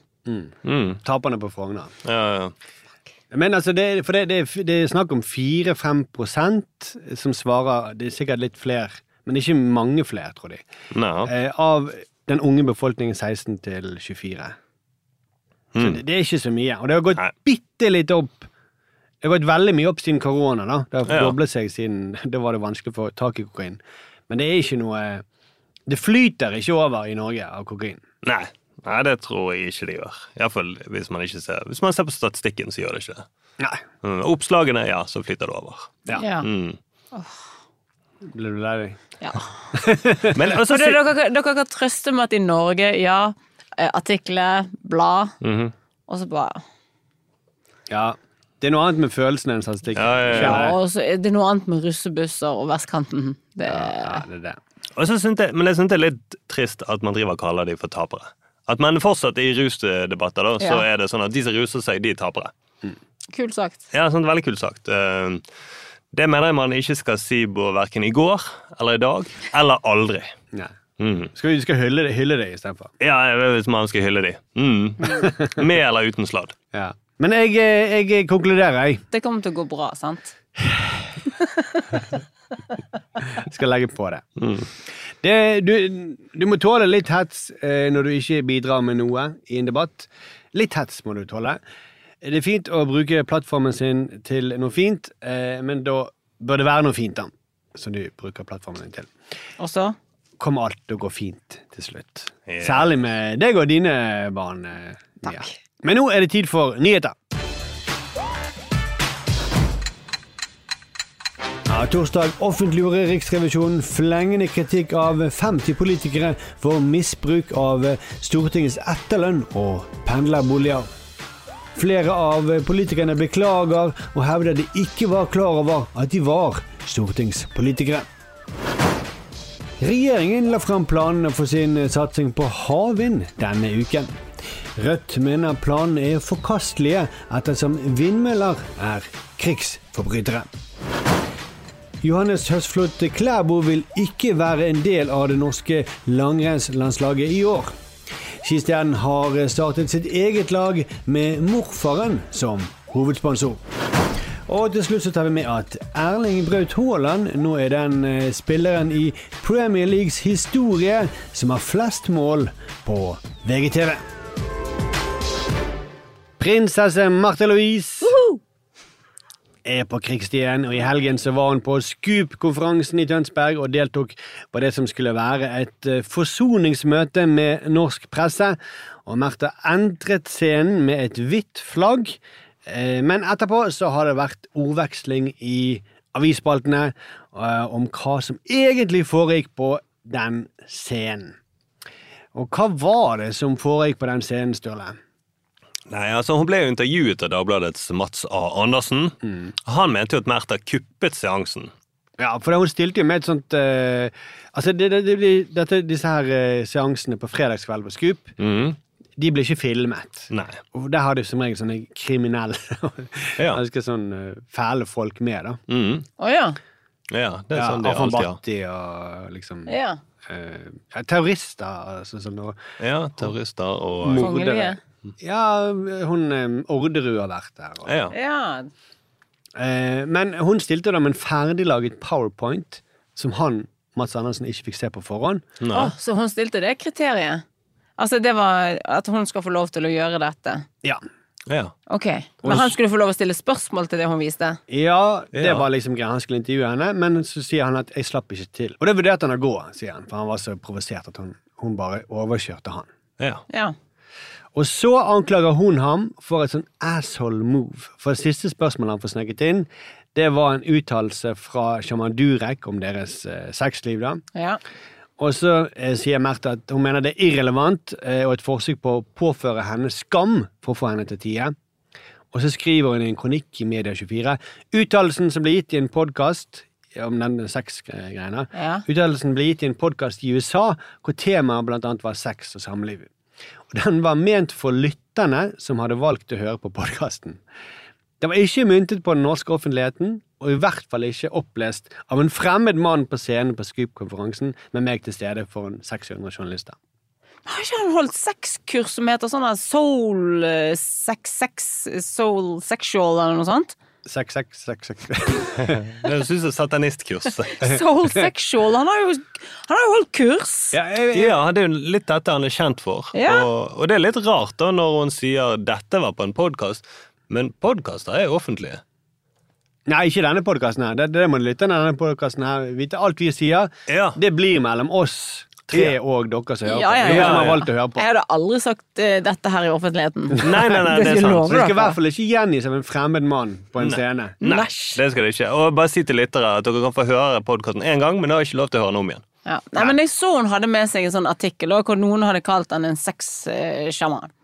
A: Taperne på Frogner.
B: Mm. Ja, ja.
A: Men altså, det, for det, det, er f- det er snakk om 4-5 prosent som svarer, det er sikkert litt flere, men ikke mange flere, tror de,
B: Nei, ja.
A: eh, av den unge befolkningen 16 til 24. Så det, det er ikke så mye, og det har gått
B: Hmm. Nei.
A: bitte litt opp. Det har gått veldig mye opp siden korona, da. Det har
B: Ja.
A: doblet seg siden, da var det vanskelig å få tak i kokain. Men det er ikke noe, det flyter ikke over i Norge av kokain.
B: Nei. Nei, det tror jeg ikke det gjør. Iallfall hvis man ikke ser Hvis man ser på statistikken, så gjør det ikke det.
A: Nei.
B: Mm, Oppslagene, ja, så flyter det over.
A: Ja.
C: Ja.
B: Mm.
A: Ble du lei deg?
C: Ja.
B: Men altså,
C: Og det, dere, dere kan trøste med at i Norge, ja, eh, artikler, blad, og så bare
A: Ja. Det er noe annet med følelsen enn statistikk.
B: Ja, ja, ja.
C: Ja, og så er det noe annet med russebusser og vestkanten. Det,
A: Ja, det er det.
B: Og så synes jeg, men jeg synes det er litt trist at man driver og kaller de for tapere. At man fortsatt i rusdebatter, da, så
C: Ja.
B: er det sånn at de som ruser seg, de er tapere.
C: Kult sagt.
B: Ja, sånn veldig kult sagt. Eh, Det mener jeg man ikke skal si på verken i går eller i dag, eller aldri. Mm.
A: Nei. Skal vi skal hylle det, hylle det istedenfor?
B: Ja, jeg vet hvis man skal hylle de. Mm. Med eller uten sladd.
A: Ja. Men jeg, eh, jeg konkluderer, jeg.
C: Det kommer til å gå bra, sant?
A: Skal legge på det. det du, du må tåle litt hets eh, når du ikke bidrar med noe i en debatt. Litt hets må du tåle. Det er fint å bruke plattformen sin til noe fint, eh, men da bør det være noe fint, da. Som du bruker plattformen din til.
C: Og så
A: Kommer alt til å gå fint til slutt.
B: Ja.
A: Særlig med deg og dine barn. eh, Mia. Men nå er det tid for nyheter. Ja, torsdag offentliggjorde Riksrevisjonen flengende kritikk av 50 politikere for misbruk av Stortingets etterlønn og pendlerboliger. Flere av politikerne beklager og hevder de ikke var klar over at de var stortingspolitikere. Regjeringen la fram planene for sin eh, satsing på havvind denne uken. Rødt mener planene er forkastelige ettersom vindmøller er krigsforbrytere. Johannes Høsflot Klæbo vil ikke være en del av det norske langrennslandslaget i år. Skistjernen har eh, startet sitt eget lag med morfaren som hovedsponsor. Og til slutt så tar vi med at Erling Braut Haaland nå er den eh, spilleren i Premier Leagues historie som har flest mål på VGTV. Prinsesse Marte Louise er på krigsstien, og i helgen så var hun på Scoop-konferansen i Tønsberg og deltok på det som skulle være et eh, forsoningsmøte med norsk presse. Og Märtha entret scenen med et hvitt flagg, eh, men etterpå så har det vært ordveksling i avisspaltene eh, om hva som egentlig foregikk på den scenen. Og hva var det som foregikk på den scenen, Sturle?
B: Nei, altså Hun ble jo intervjuet av Dagbladets Mats A. Andersen. Han mente jo at Märtha kuppet seansen.
A: Ja, for hun stilte jo med et sånt eh, Altså, det, det, det blir, dette, disse her eh, seansene på fredagskveld på Scoop,
B: Mm.
A: de blir ikke filmet.
B: Nei.
A: Og der har de som regel sånne kriminelle
B: Ja.
A: Ganske sånn eh, fæle folk med, da.
B: Mm.
C: Å ja.
B: Ja, det er
A: Ja,
B: sånn de
A: Afan
B: alltid har.
A: Bhatti og liksom
C: ja.
A: eh, ja, Terrorister altså, sånn, og
B: Ja, terrorister og
C: Kongelige.
A: mordere. Ja, hun eh, Orderud har vært der. Og,
B: Ja.
C: Ja.
A: Eh, men hun stilte da med en ferdiglaget powerpoint som han, Mats Andersen, ikke fikk se på forhånd.
B: Nei.
C: Å, så hun stilte det kriteriet? Altså, det var at hun skal få lov til å gjøre dette.
A: Ja,
B: Ja.
C: Ok, Men han skulle få lov å stille spørsmål til det hun viste?
A: Ja, det
B: Ja.
A: var liksom greia. Han skulle intervjue henne, men så sier han at 'jeg slapp ikke til'. Og det vurderte han å gå, sier han, for han var så provosert at hun, hun bare overkjørte han.
B: Ja.
C: Ja.
A: Og så anklager hun ham for et sånn asshole move. For det siste spørsmålet han får sneket inn, det var en uttalelse fra sjaman Durek om deres eh, sexliv, da.
C: ja.
A: Og så eh, sier Märtha at hun mener det er irrelevant eh, og et forsøk på å påføre henne skam for å få henne til tide. Og så skriver hun i en kronikk i Media24 uttalelsen som ble gitt i en podkast om den sexgreiene.
C: Ja.
A: Uttalelsen ble gitt i en podkast i USA hvor temaet blant annet var sex og samliv. Og den var ment for lytterne som hadde valgt å høre på podkasten. Det var ikke myntet på den norske offentligheten, og i hvert fall ikke opplest av en fremmed mann på scenen på Scoop-konferansen med meg til stede foran 600 journalister.
C: Har ikke han holdt sexkurs som heter sånn der soul eh, sex, sex, soul sexual eller noe sånt?
A: 6666.
B: Jeg synes det er satanistkurs.
A: Eh.
C: Soul sexual. Han har jo, han har jo holdt kurs.
A: Ja, jeg,
B: Ja, det er jo litt dette han er kjent for.
C: Ja.
B: Og, og det er litt rart da når hun sier 'dette var på en podkast', men podkaster er offentlige.
A: Nei, ikke denne podkasten her. Det, det må du lytte til denne podcasten her. Vite alt vi sier.
B: Ja.
A: Det blir mellom oss tre og dere som hører
C: Ja, ja,
A: på. Dere
B: ja,
A: som har
B: ja.
A: valgt å høre på.
C: Jeg hadde aldri sagt eh, dette her i offentligheten.
B: Nei, nei, nei, det er
C: skal jeg
B: sant.
C: love
A: Så det skal i
C: dere.
A: hvert fall ikke gjengis av en fremmed mann på en scene.
B: Nei,
C: Næsj.
B: det skal det ikke. Og bare si til lyttere at dere kan få høre podkasten én gang, men det har ikke lov til å høre den om igjen.
C: Ja. Nei, men jeg så hun hadde med seg en sånn artikkel også, hvor noen hadde kalt han en sexsjaman.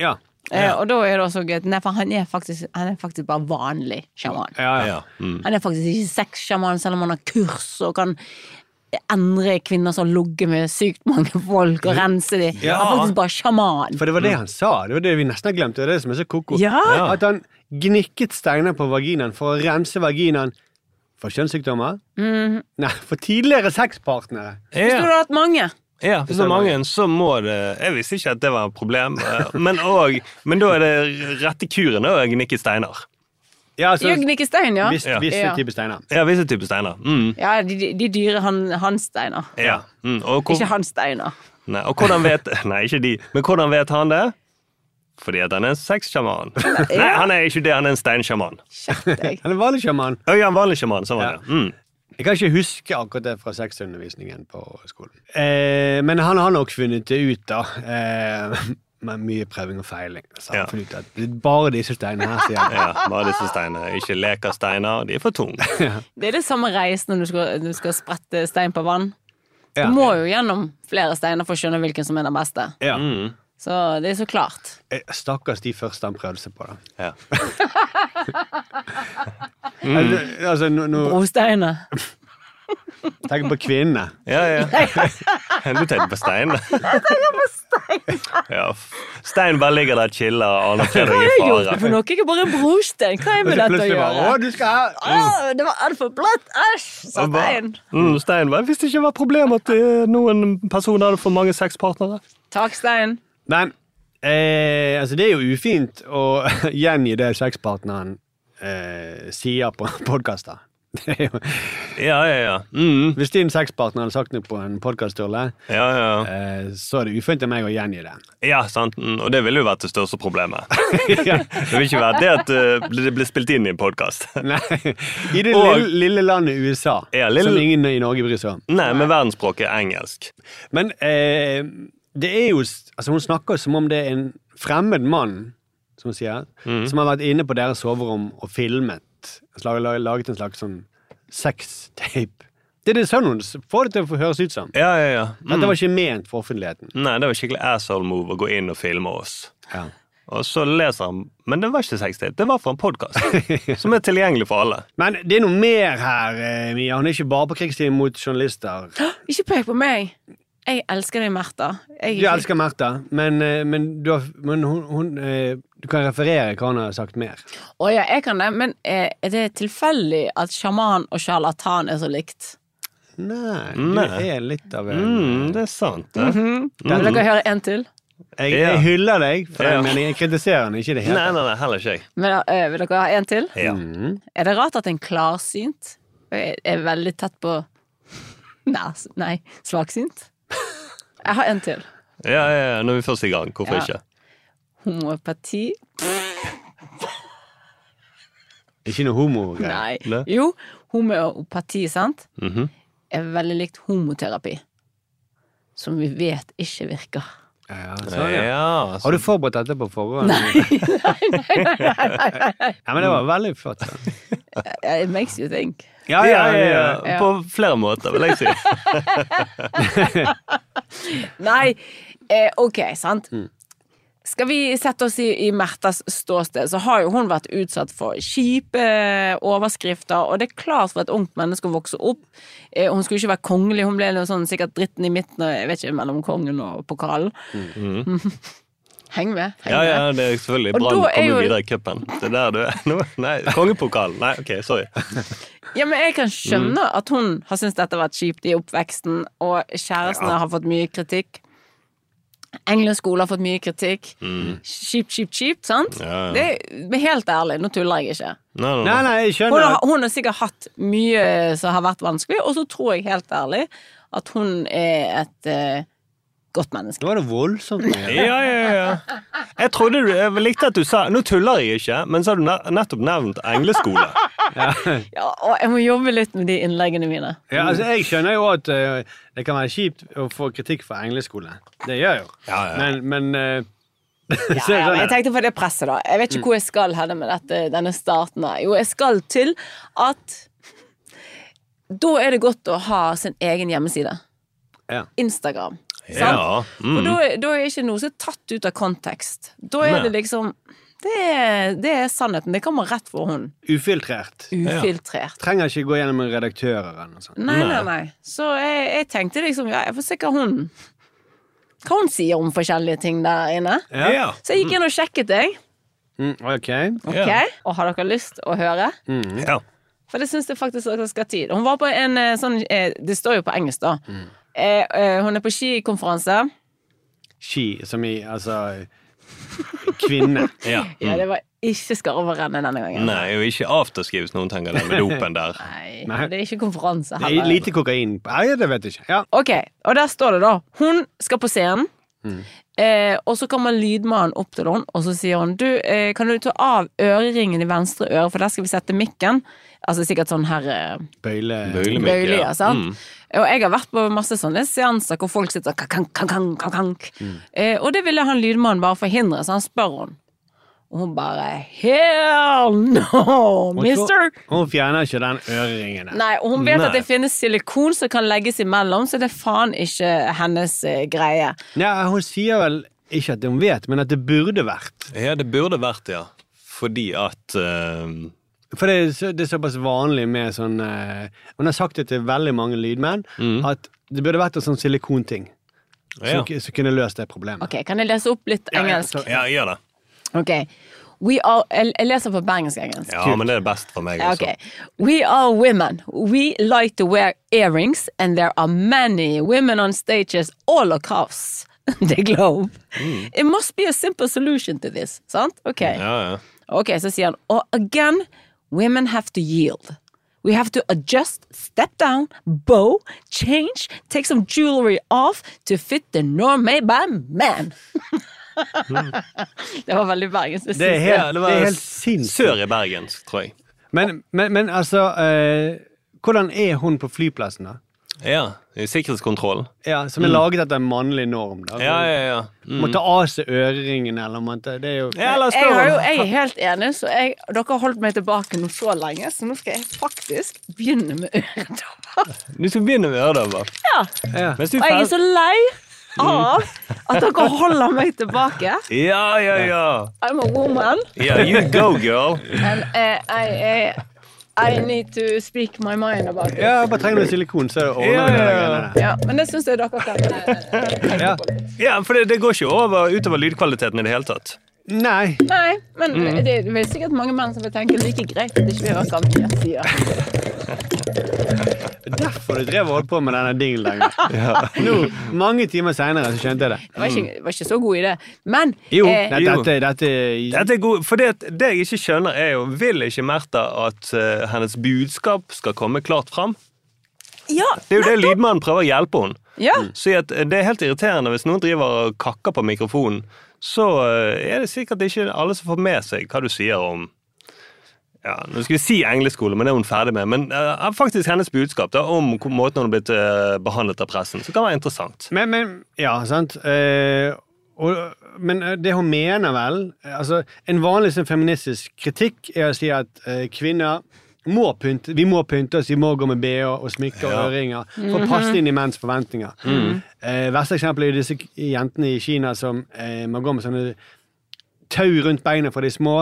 A: Ja.
C: Eh, og da er det også gøy at- Nei, for han er faktisk, han er faktisk bare vanlig sjaman.
A: Ja, ja.
B: Ja. Mm.
C: Han er faktisk ikke sexsjaman, selv om han har kurs og kan endre kvinner som har ligget med sykt mange folk, og rense dem.
A: Ja.
C: Han er faktisk bare sjaman.
A: For det var det han sa. Det var det vi nesten har glemt. Det er det som er så koko.
C: Ja.
B: Mm. Ja.
A: At han gnikket steiner på vaginaen for å rense vaginaen for kjønnssykdommer. Nei, for tidligere sexpartnere.
C: Hvis du hadde hatt mange.
B: Ja, hvis det er mange, så må det Jeg visste ikke at det var et problem, eh, men, og, men da er det rette kuren å gnikke steiner.
A: Ja, altså,
C: Jøgn ikke stein, ja.
A: vis,
B: Ja.
A: visse
C: Ja.
A: typer steiner.
B: Ja, visse typer steiner. Mm.
C: Ja, de, de- de dyre han, hansteiner.
B: Ja. Mm. Og, hvor,
C: Ikke hansteiner.
B: nei, og hvordan vet Nei, ikke de. Men hvordan vet han det? Fordi at han er en sexsjaman. Nei, han er ikke det, han er en steinsjaman.
C: Skjerp deg.
A: Eller vanlig sjaman.
B: Å, ja, en vanlig sjaman. Sånn
A: Ja.
B: var det. Mm.
A: Jeg kan ikke huske akkurat det fra sexundervisningen på skolen. Eh, men han har nok funnet det ut, da. Eh, med mye prøving og feiling. Så han
B: Ja.
A: har funnet ut at det er bare disse steinene her, sier han.
B: Ja, bare disse steinene. Ikke lekersteiner, de er for tunge.
C: Det er det samme reisen når du skal, du skal sprette stein på vann. Du
A: Ja.
C: må jo gjennom flere steiner for å skjønne hvilken som er den beste.
A: Ja.
B: Mm.
C: Så det er så klart.
A: Eh, Stakkars de første han prøvde seg på, da.
B: Ja. Mm.
A: Altså, altså, nå, nå
C: Brosteiner.
A: tenk på kvinnene.
B: Ja, ja. Du tenkte på stein? Jeg tenker på stein. Ja. f- Stein bare ligger der og chiller og aner Fredrik
C: Hva
B: i
C: gjorde jeg for
B: fare.
C: noe? Jeg er bare en brostein. Hva er
A: Og
C: med
A: så
C: dette å
A: plutselig bare
C: gjøre?
A: Å, du skal ha
C: Åh, det var altfor blått! Æsj! sa
B: Og bare-
C: stein.
B: Mm, stein bare, Hvis det ikke var problem at eh, noen personer hadde for mange sexpartnere.
C: Takk, Stein.
A: Men eh, altså, det er jo ufint å gjengi det sexpartneren eh, sier på podkaster. Hvis
B: Ja, ja, ja. Mm.
A: din sexpartner hadde sagt noe på en podkast, Sturle,
B: Ja, ja.
A: eh, så er det ufint av meg å gjengi det.
B: ja, sant. Mm, Og det ville jo vært det største problemet. Det ville ikke vært det at eh, det ble spilt inn i en podkast.
A: Nei. I det
B: Og-
A: lille, lille landet USA,
B: Ja, lille-
A: som ingen i Norge bryr seg om.
B: Nei, men verdensspråket er engelsk.
A: Men eh, det er jo s- altså, Hun snakker som om det er en fremmed mann som, hun sier,
B: Mhm.
A: som har vært inne på deres soverom og filmet. Slag, lag- laget en slags sånn sextape. Det er det sånn hun s- får det til å høres ut som.
B: Ja, ja, ja. Mm.
A: Dette var ikke ment for offentligheten.
B: Nei, det var skikkelig asshole move å gå inn og filme oss.
A: Ja.
B: Og så leser han Men det var ikke sextape, det var fra en podkast. som er tilgjengelig for alle.
A: Men det er noe mer her, eh, Mia. Hun er ikke bare på krigstid mot journalister.
C: Ikke pek på meg. Jeg elsker deg, Märtha. Jeg-
A: Du elsker Märtha, men, eh, men, du, har, men hun, hun, eh, du kan referere hva hun har sagt mer.
C: Å ja, jeg kan det, men eh, er det tilfeldig at sjaman og sjarlatan er så likt?
A: Nei, du
B: Nei.
A: er litt av en
B: Mm, det er sant. det.
C: Vil Mhm. dere høre en til?
A: Jeg,
B: Ja.
A: jeg hyller deg for
B: Ja.
A: den meningen. Jeg kritiserer den ikke i det hele
B: Nei, nei, nei, heller ikke jeg.
C: Men, eh, vil dere ha en til?
B: Ja.
C: Er det rart at en klarsynt er er veldig tett på Nei, s- nei svaksynt? Jeg har en til.
B: Ja, ja, ja, når vi først er i gang. Hvorfor
C: Ja.
B: ikke?
C: Homopati?
A: Ikke noe homogreier.
C: Nei.
B: Nei.
C: Jo, homeopati, sant,
B: Mhm.
C: er veldig likt homoterapi. Som vi vet ikke virker.
A: Ja, sånn, ja.
B: Ja, altså.
A: Har du forberedt dette på forhånd? Nei, Ja, men det var veldig flott. da.
C: Eh, It makes you think.
A: Ja,
B: ja,
A: ja,
B: ja, ja,
A: ja.
C: ja.
B: På flere måter, vil jeg si.
C: Nei, eh, ok, sant. Skal vi sette oss i, i Märthas ståsted, så har jo hun vært utsatt for kjipe eh, overskrifter, og det er klart for et ungt menneske å vokse opp. Eh, hun skulle ikke være kongelig, hun ble noe sånn, sikkert dritten i midten, og jeg vet ikke, mellom kongen og pokalen. Heng med. Heng
B: Mm. Ja, ja,
C: med.
B: det er selvfølgelig.
C: Og
B: Brann
C: da er
B: kommer
C: jo-
B: videre i cupen. Det er der du er nå. Nei, kongepokalen. Nei, OK, sorry.
C: Ja, men jeg kan skjønne
B: Mm.
C: at hun har syntes dette har vært kjipt i oppveksten, og kjærestene har fått mye kritikk. Englund skole har fått mye kritikk. Kjipt, kjipt, kjipt, sant?
B: Mm. Ja, ja.
C: Det er, men helt ærlig, nå tuller jeg ikke.
B: Nei,
A: Nei,
B: nei, nei.
A: nei, jeg
C: Hun
A: skjønner.
C: har,
A: at-
C: hun har sikkert hatt mye som har vært vanskelig, og så tror jeg helt ærlig at hun er et eh, godt menneske.
A: Det var det voldsomt. mye.
B: Ja, ja, ja. Jeg trodde du, jeg likte at du sa Nå tuller jeg ikke, men så har du ne- nettopp nevnt engleskole.
C: Ja, og jeg må jobbe litt med de innleggene mine.
A: Ja, altså, jeg skjønner jo at eh, det kan være kjipt å få kritikk for engleskole. Det gjør jeg jo.
B: Ja, ja.
A: Men, men eh,
C: Ja,
A: Så jeg
C: ja, men jeg
A: skjønner.
C: tenkte på det presset, da. Jeg vet
B: Mm.
C: ikke hvor jeg skal henne med dette, denne starten. her. Jo, jeg skal til at Da er det godt å ha sin egen hjemmeside.
A: Ja.
C: Instagram. Sant?
B: Ja.
C: For
B: Mm.
C: da, er- da er ikke noe som er tatt ut av kontekst. Da er
B: Nei.
C: det liksom det er, det er sannheten. Det kommer rett for hun.
A: Ufiltrert.
C: Ufiltrert.
A: Trenger ikke gå gjennom en redaktør eller noe sånt.
C: Nei, nei, nei. Så jeg, jeg tenkte liksom Ja, jeg får se hva hun Hva hun sier om forskjellige ting der inne.
B: Ja.
C: Så jeg gikk inn og sjekket deg.
A: Mm, ok.
C: Ok, Og har dere lyst å høre?
B: Ja.
C: For det syns jeg faktisk dere skal ha tid. Hun var på en eh, sånn eh, Det står jo på engelsk, da. Eh, eh, hun er på skikonferanse.
A: She, som i altså Kvinne.
B: ja.
C: Ja, det var ikke Skarverennet denne gangen.
B: Nei, og ikke afterski hvis noen tenker det med dopen der.
C: Nei,
A: Nei.
C: Det er ikke konferanse
A: Det er
C: heller.
A: Lite kokain. Nei, det vet jeg ikke. Ja.
C: Ok, Og der står det, da. Hun skal på scenen. Eh, og så kommer lydmannen opp til henne, og så sier hun Du, eh, kan du ta av øreringen i venstre øre, for der skal vi sette mikken. Altså sikkert sånn her eh,
A: Bøyle.
B: Bøylemikk,
C: Bøylige,
B: ja.
C: sant?
B: Mm.
C: Og jeg har vært på masse sånne seanser hvor folk sitter kank, kank, kank, kank, kank.
B: Mm.
C: Eh, og det ville han lydmannen bare forhindre, så han spør henne. Og hun bare Hell no, mister!
A: Hun fjerner ikke den øreringen der.
C: Nei, og hun vet
B: Nei.
C: at det finnes silikon som kan legges imellom, så det er faen ikke hennes eh, greie.
A: Ja, hun sier vel ikke at hun vet, men at det burde vært.
B: Ja, det burde vært det, ja. Fordi at eh,
A: For det er, så, det er såpass vanlig med sånn eh, Hun har sagt det til veldig mange lydmenn, at det burde vært en sånn silikonting
B: Mm. Ja,
A: som, som kunne løst det problemet.
C: Ok, Kan jeg lese opp litt
A: ja,
C: engelsk?
A: så-
B: ja gjør det.
C: Ok. We are, jeg jeg leser på bergensk-engelsk.
B: Ja, men det er best for meg. altså. Også.
C: Okay. We are women. We like to wear earrings, and there are many women on stages all across the globe.
A: Hmm.
C: It must be a simple solution to this, sant? Okay.
B: Ja, ja.
C: Ok, så sier han Og again, women have to yield. We have to adjust, step down, bow, change, take some jewelry off to fit the norm made by man. det var veldig bergensk.
A: Hmm. Det er
B: Ja,
A: helt,
B: det
A: det
B: var
A: er helt sinnssykt.
B: Sør i Bergensk, tror jeg.
A: Men, men, men altså eh, Hvordan er hun på flyplassen, da?
B: Ja, i Sikkerhetskontrollen.
A: Ja, som er laget etter en mannlig norm. Da.
B: Mm. Ja, ja, ja. Mm.
A: Må ta av seg øreringene, eller må ta, det er jo
B: Ja, la oss
C: Jeg,
B: spørre
C: har jo,
B: om-
C: jeg er helt enig, så jeg, dere har holdt meg tilbake nå så lenge, så nå skal jeg faktisk begynne med øredobber.
B: Du skal begynne med øredobber.
C: Ja.
A: Ja.
B: Mens du
C: Og jeg er
B: fer-
C: så lei av at dere holder meg tilbake.
B: Ja, ja, ja.
C: I'm a woman,
B: Yeah, you go, girl.
C: and eh, I, I, I need to speak my mind about it.
A: Ja, bare trenger du silikon, så ordner vi
B: Ja,
A: det.
B: ja, ja.
A: greiene der.
C: Ja, men det syns jeg dere kan eh, tenke på. litt.
B: Ja, for det, det går ikke over, utover lydkvaliteten i det hele tatt.
A: Nei.
C: Nei, men det er vel sikkert mange menn som vil tenke like greit at ikke vi hører hva Mia sier.
A: Det er derfor du drev og holdt på med denne dingeldingen. Nå, mange timer seinere, så skjønte jeg det.
C: Det var ikke, det var ikke så god idé. Men
A: Jo,
C: eh,
A: nei,
B: jo.
A: dette, dette
B: Dette er god, for det, det jeg ikke skjønner, er jo Vil ikke Märtha at eh, hennes budskap skal komme klart fram?
C: ja,
B: Det er jo det lydmannen prøver å hjelpe henne.
C: ja,
B: Si Mm. at eh, Det er helt irriterende hvis noen driver og kakker på mikrofonen. Så eh, er det sikkert ikke alle som får med seg hva du sier om ja, Nå skal vi si engleskole, men det er hun ferdig med. Men eh, faktisk hennes budskap da, om hvor- måten hun har blitt eh, behandlet av pressen, som kan være interessant.
A: Men, men Ja, sant. Eh, og, men eh, det hun mener, vel altså, En vanlig sånn feministisk kritikk er å si at eh, kvinner må pynte, vi må pynte oss, vi må gå med bh og smykker og øringer for å passe inn i menns forventninger. Eh, verste eksempel er jo disse k- jentene i Kina som eh, må gå med sånne tau rundt beina for de små.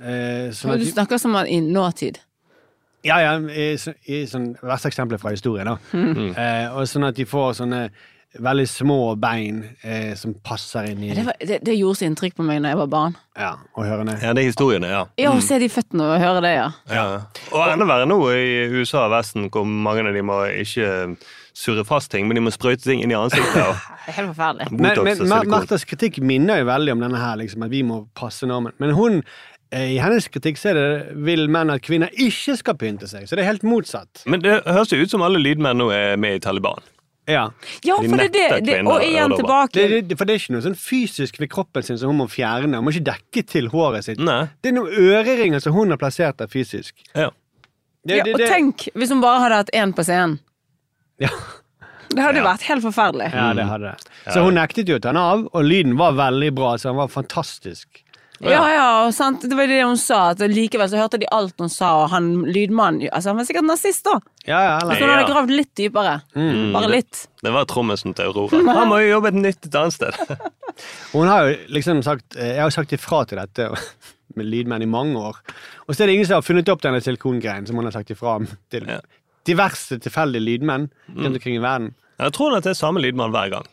A: Eh, sånn at
C: Du
A: de-
C: snakker som om i nåtid. Mm.
A: Ja, ja, i, så- i sånn verste eksempler fra historien, da. Eh, og sånn at de får sånne veldig små bein eh, som passer inn i
C: Det, var, det, det gjorde så inntrykk på meg når jeg var barn.
A: Ja, og hørene.
B: Ja, det er historiene, ja.
C: Ja, å se de føttene og høre det, ja.
B: Ja. Og enda verre nå i USA og Vesten, hvor mange av de må ikke eh, surre fast ting, men de må sprøyte ting inn i ansiktet. Og
C: Det er helt forferdelig.
A: Men,
B: botox
A: men Mar-
B: og silikon.
A: Marthas kritikk minner jo veldig om denne her, liksom, at vi må passe normen. Men hun, eh, i hennes kritikk så er det vil menn at kvinner ikke skal pynte seg, så det er helt motsatt.
B: Men det høres jo ut som alle lydmenn nå er med i Taliban.
A: Ja.
C: Ja,
B: De
C: for det, det,
B: nekter
C: det
B: kvinner å
C: Og igjen
B: høre det bra.
C: tilbake.
A: Det, det, for det er ikke noe sånn fysisk ved kroppen sin som hun må fjerne. Hun må ikke dekke til håret sitt.
B: Nei.
A: Det er noen øreringer som hun har plassert der fysisk.
B: Ja.
A: Det,
C: ja,
A: det-
C: og
A: det-
C: tenk hvis hun bare hadde hatt én på scenen.
A: Ja.
C: Det hadde jo vært helt forferdelig.
A: Ja, det hadde det. Mm. Så hun nektet jo å ta den av, og lyden var veldig bra, så den var fantastisk.
C: Ja, ja, og sant? Det var det hun sa. At likevel så hørte de alt hun sa, og han lydmannen altså, Han var sikkert nazist, Altså, da.
A: Ja, ja, Mm. eller?
C: Hvis hun hadde
B: Ja.
C: gravd litt dypere. Bare litt.
B: Det var trommisen til Aurora. Han må jo jobbe et nytt et annet sted.
A: Hun har jo liksom sagt eh, Jeg har jo sagt ifra til dette med lydmenn i mange år. Og så er det ingen som har funnet opp denne silikongreien som hun har sagt ifra om til
B: Ja.
A: diverse tilfeldige lydmenn rundt omkring i verden.
B: Jeg tror at det er samme lydmann hver gang.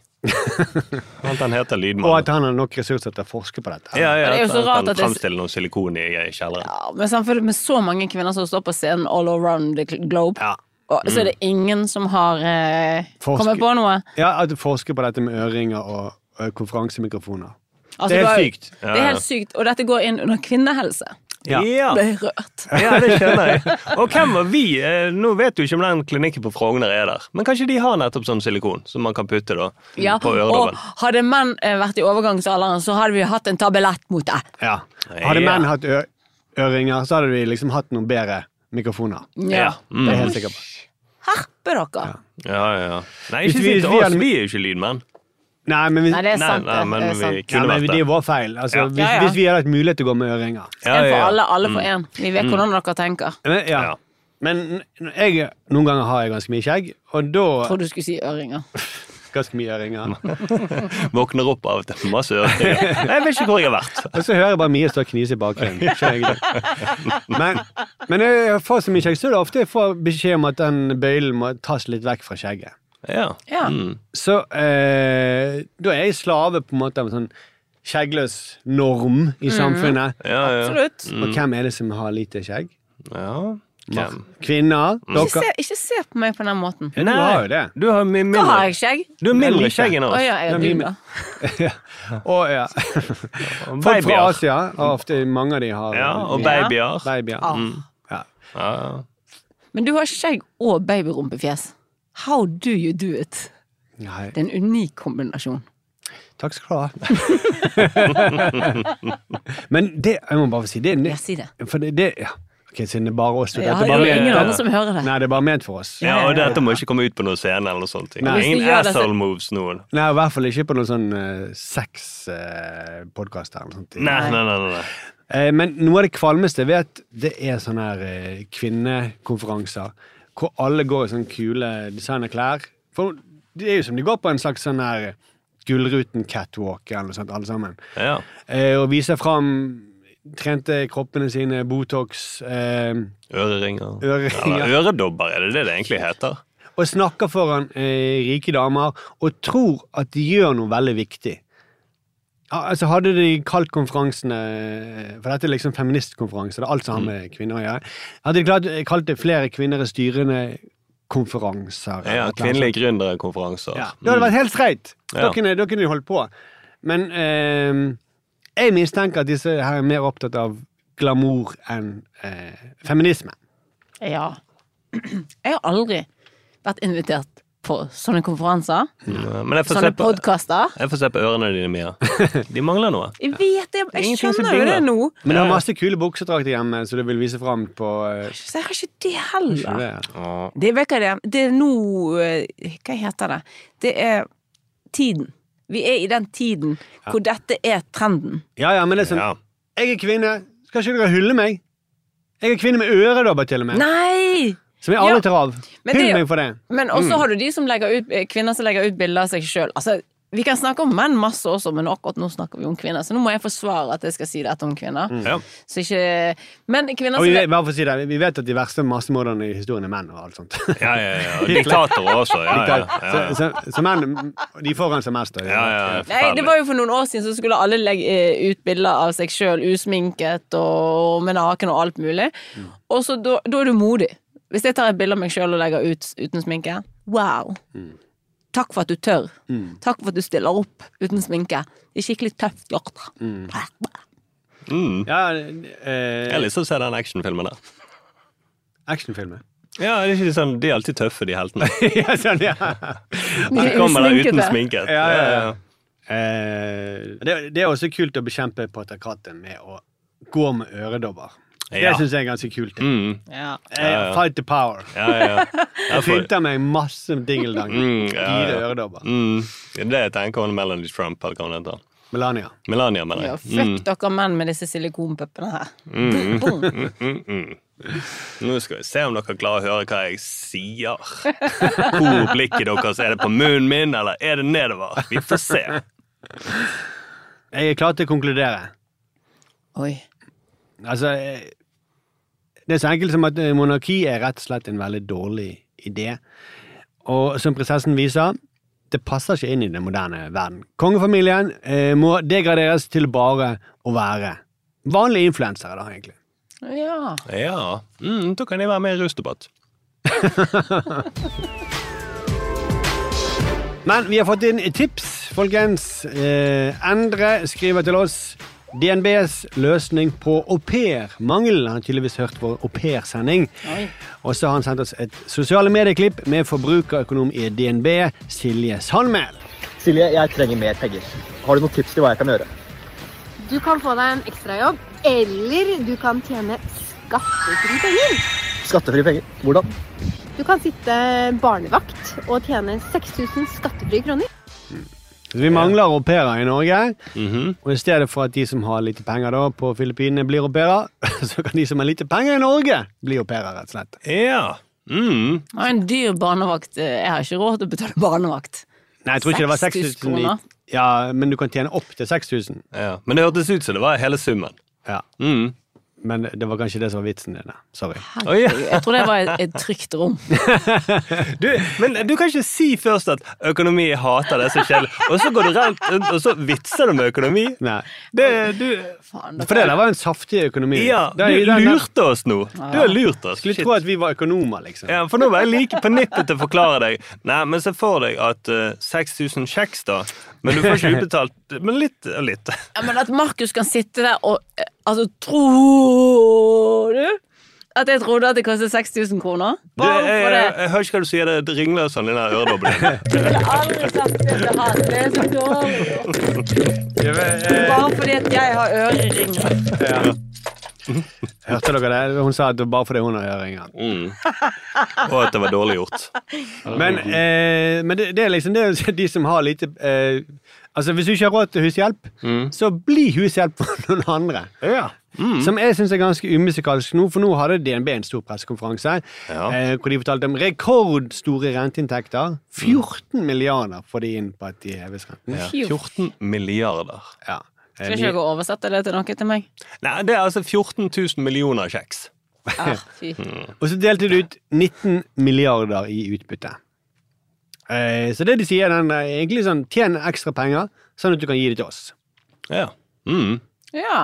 B: At han heter lydmann.
A: Og at han har nok ressurser til å forske på dette.
B: ja, ja,
C: Det er jo
B: at
C: så rart
B: han
C: at det-
B: fremstiller noe silikon i i kjelleren.
C: Ja, men samtidig med så mange kvinner som står på scenen all around the globe,
A: Ja. Mm.
C: og så er det ingen som har eh,
A: Forske-
C: kommet på noe.
A: Ja, at du forsker på dette med øringer og, og konferansemikrofoner.
C: Altså,
A: Det er
C: du har-
A: sykt.
B: Ja,
C: Det er
B: ja.
C: helt sykt, og dette går inn under kvinnehelse.
A: Ja.
C: Ble rørt.
B: Ja, det skjønner jeg. Og hvem var vi? Eh, Nå vet du ikke om den klinikken på Frogner er der, men kanskje de har nettopp sånn silikon som man kan putte da
C: Ja,
B: på
C: og
B: øredobben.
C: hadde menn eh, vært i overgangsalderen, så hadde vi hatt en tabellett mot deg.
A: Ja. Hadde
B: Ja.
A: menn hatt ø øringer, så hadde vi liksom hatt noen bedre mikrofoner.
B: Ja.
A: Det er jeg
B: Mm.
A: helt sikker på.
C: Herpe dere!
B: ja, ja, ja. Nei,
A: Hvis
B: ikke
A: vi-
B: si til
A: vi
B: oss,
A: hadde-
B: vi er jo ikke lydmenn.
A: Nei, men, vi,
C: Nei, det er
B: Nei,
C: sant.
B: nei, men
C: det er
B: vi
C: sant.
A: ja,
B: kunne
A: men
B: vært
A: det
B: det.
A: er vår feil. Altså,
B: Ja.
A: Hvis,
C: Ja, ja.
A: hvis vi hadde hatt mulighet til å gå med øringer.
B: Ja,
C: En
B: ja, Mm.
C: for
B: ja.
C: alle, alle for én. Vi vet hvordan dere tenker.
A: Men, ja.
B: Ja.
A: men jeg, noen ganger har jeg ganske mye skjegg, og da
C: Jeg trodde du skulle si øringer.
A: ganske mye øringer.
B: Våkner opp av og til masse øringer. Jeg vet ikke hvor jeg har vært.
A: Og så hører jeg bare Mia stå og knise i bakgrunnen. Skjønner jeg ikke. Men, men jeg får så mye skjegg, så det er ofte jeg får beskjed om at den bøylen må tas litt vekk fra skjegget.
B: Mm. Ja.
C: Ja.
A: Så eh, da er jeg slave på en måte av en sånn skjeggløs norm i
C: Mm.
A: samfunnet.
B: Ja, ja.
C: Absolutt.
A: Og hvem er det som har lite skjegg?
B: ja.
A: Mar-
B: Hvem?
A: Kvinner?
C: Ikke
A: Dere?
C: se, ikke se på meg på den måten.
A: Ja, du har jo det.
B: Du har mye
C: Da har
B: mindre,
C: jeg skjegg.
B: du har
A: Men
B: mindre
A: lite.
B: skjegg enn
C: Å ja,
B: oss.
C: jeg
A: Nei,
C: er du,
A: men-
C: da.
A: Og, ja.
B: Og
A: Folk fra
B: Babyer.
A: Asia, og ofte mange av de har
B: Ja, og
A: mye- Mm.
B: babyer.
A: babyer.
C: Ah.
A: Ja.
B: Mm. Ja, ja.
C: Men du har skjegg og babyrumpefjes. How do you do it?
A: Nei.
C: Det er en unik kombinasjon.
A: Takk skal du ha. Men det, jeg må bare si det,
C: Jeg
A: det
C: sier det.
A: For det, det ja. Ok, siden det er bare oss. vet du,
C: Ja,
A: at
C: det
A: det
C: er
A: bare
C: jo
A: ment-
C: ingen andre som hører det.
A: Nei, det er bare ment for oss.
B: ja, og dette må ikke komme ut på noen scene eller noe sånt.
A: Nei.
C: Hvis
B: Ingen
C: de gjør det, så-
B: asshole moves noen.
A: Nei, i hvert fall ikke på noen sånn uh, sexpodkast eller noe sånt.
B: Nei, nei, nei, nei. nei.
A: Eh, men noe av det kvalmeste jeg vet, det er sånne her eh, kvinnekonferanser hvor alle går i sånne kule designerklær. For det er jo som de går på en slags sånn her Gullruten-catwalk eller noe sånt, alle sammen.
B: Ja.
A: Eh, og viser fram trente kroppene sine, Botox eh,
B: Øreringer.
A: Øreringer.
B: Eller øredobber, er det det det egentlig heter?
A: og snakker foran eh, rike damer og tror at de gjør noe veldig viktig. Ja, altså Hadde de kalt konferansene For dette er liksom feministkonferanse. Det er alt som
B: Mm.
A: har med kvinner å gjøre. Hadde de klart, eh, kalt det flere kvinner i styrende konferanser. eller
B: Ja,
A: noe
B: Kvinnelige
A: sånt.
B: gründerkonferanser.
A: Ja, Det hadde vært helt streit! Da
B: Ja.
A: kunne, da kunne de holdt på. Men eh, jeg mistenker at disse her er mer opptatt av glamour enn eh, feminisme.
C: Ja. Jeg har aldri vært invitert på sånne konferanser.
B: Mm. Ja, Men jeg får, se
C: Sånne
B: på,
C: podkaster.
B: jeg får se på ørene dine, Mia. De mangler noe.
C: Jeg vet det, jeg
B: Ingenting som
C: skjønner jo det
B: dingler.
C: nå.
A: Men det er masse kule buksedrakter hjemme, så du vil vise fram på eh,
C: Så jeg har ikke det heller.
A: det.
C: Det, vet hva det, er. det er nå eh, Hva heter det? Det er tiden. Vi er i den tiden hvor dette er trenden.
A: Ja, ja, men det er sånn
B: Ja.
A: Jeg er kvinne. Skal ikke dere hylle meg? Jeg er kvinne med øredobber, til og med.
C: Nei!
A: Som jeg aldri
C: Ja.
A: tar av.
C: Men
A: Hyll
C: det er jo-
A: meg for det.
C: eh, Men også har du de som legger ut, kvinner som legger ut bilder av seg sjøl. Altså, Vi kan snakke om menn masse også, men akkurat nå snakker vi om kvinner. Så nå må jeg forsvare at jeg skal si dette om kvinner.
B: Ja.
C: Så ikke Men kvinner
A: Og
C: som
A: vi, vet, bare for å si det, vi vet at de verste massemorderne i historien er menn. og alt sånt.
B: Ja, ja, ja. Diktatorer også. Ja, ja, ja.
A: Så, så, så menn de forurenser mest. Og,
B: ja, ja,
C: Nei, det var jo for noen år siden så skulle alle legge eh, ut bilder av seg sjøl usminket og med naken og alt mulig.
B: Mm.
C: Og så da da er du modig. Hvis jeg tar et bilde av meg sjøl og legger ut uten sminke, wow.
B: Mm.
C: Takk for at du tør. Takk for at du stiller opp uten sminke. Det er skikkelig tøft gjort.
B: Mm.
A: ja,
B: Jeg har
A: eh,
B: lyst til å se den actionfilmen der.
A: Actionfilmer.
B: Ja, det er ikke sånn, De er alltid tøffe, de heltene.
A: ja, sånn, ja.
B: De kommer der uten sminket.
A: Ja, ja, ja.
B: ja.
A: Eh, det, det er også kult å bekjempe patriarkatet med å gå med øredobber. Det
B: Ja.
A: syns jeg er ganske kult.
B: Mm,
C: Ja.
A: Eh, fight the power.
B: ja, ja.
A: Jeg
B: for-
A: pynter meg masse dingeldang.
B: Mm, ja, ja.
A: Dyre øredobber.
B: Mm. Det er tenker hun Melanie Trump, eller hva hun heter.
A: Melania.
B: Melania, mener
C: Ja,
B: jeg.
C: fuck dere menn med disse silikonpuppene her.
B: Mm.
C: Boom.
B: Nå skal vi se om dere klarer å høre hva jeg sier. Hvor blikket deres er det på munnen min, eller er det nedover? Vi får se.
A: Jeg er klar til å konkludere.
C: Oi.
A: Altså, eh, det er så enkelt som at eh, monarki er rett og slett en veldig dårlig idé. Og som prinsessen viser, det passer ikke inn i den moderne verden. Kongefamilien eh, må degraderes til bare å være vanlige influensere, da, egentlig.
C: Ja.
B: Ja, mm, da kan jeg være med i rusdebatt.
A: Men vi har fått inn tips, folkens. Eh, Endre skriver til oss. DNBs løsning på aupairmangelen. Han har tydeligvis hørt vår aupairsending.
C: Oi.
A: Og så har han sendt oss et sosiale medieklipp med forbrukerøkonom i DNB, Silje Sandmæl.
F: Silje, jeg trenger mer penger. Har du noen tips til hva jeg kan gjøre?
G: Du kan få deg en ekstrajobb, eller du kan tjene skattefrie penger.
F: Skattefrie penger. Hvordan?
G: Du kan sitte barnevakt og tjene 6000 skattefrie kroner.
A: Så vi mangler au pairer i Norge.
C: Mhm.
A: Og i stedet for at de som har lite penger da på Filippinene, blir au pairer, så kan de som har lite penger i Norge, bli au pairer, rett og slett.
B: Ja. Mm.
C: Jeg har en dyr barnevakt. eh, Jeg har ikke råd til å betale barnevakt.
A: Nei, jeg tror ikke det var
C: 6000
A: 6000 i
C: kroner.
A: Ja, men du kan tjene opp til 6000.
B: ja. Men det hørtes ut som det var hele summen.
A: Ja.
B: Mm.
A: Men det var kanskje det som var vitsen din. da. Sorry.
B: Oi, ja.
C: Jeg tror det var et, et trygt rom.
B: Du, men du kan ikke si først at økonomi hater det som skjer, og så går du rundt og så vitser du med økonomi.
A: Nei.
B: Det, du,
C: Faen, dere-
A: For det der var en saftig økonomi.
B: ja,
A: Det
B: du
A: er- i den-
B: lurte oss nå. Du har lurt oss.
A: Skulle
B: Shit.
A: tro at vi var økonomer, liksom.
B: Ja, for nå var jeg like på nippet til å forklare deg. Nei, men se for deg at eh, 6000 kjeks, da. Men du får ikke utbetalt Men litt og litt.
C: Ja, men at Markus kan sitte der og eh, Altså, tror du at jeg trodde at det kostet 6000 kroner?
B: Du,
C: Bare
B: jeg, jeg,
C: for
B: jeg,
C: det.
B: hører ikke hva du sier, det ringler sånn i den der øredobben din.
C: Jeg ville aldri sagt det til han. Det er så dårlig. Bare fordi at jeg har øreringer.
A: Hørte dere det? Hun sa at det var bare fordi hun har øringer.
B: Og at det var dårlig gjort.
A: Men, eh, men det, det er liksom det er de som har lite eh, Altså, hvis du ikke har råd til hushjelp,
B: Mm.
A: så bli hushjelp for noen andre. Som jeg syns er ganske umusikalsk nå, for nå hadde DNB en stor pressekonferanse
B: Ja. Mm.
A: eh, hvor de fortalte om rekordstore renteinntekter. 14 milliarder får de inn på at de heves renten.
B: Ja.
C: Phew.
B: 14 milliarder.
A: Ja. Eh,
C: Skal ikke dere oversette det til noe til meg?
B: Nei, det er altså 14 000 millioner kjeks.
C: Ah, fy.
A: Og så delte de ut 19 milliarder i utbytte. Eh, så det de sier, den er egentlig sånn tjen ekstra penger, sånn at du kan gi det til oss.
B: Ja. Mm.
C: Ja.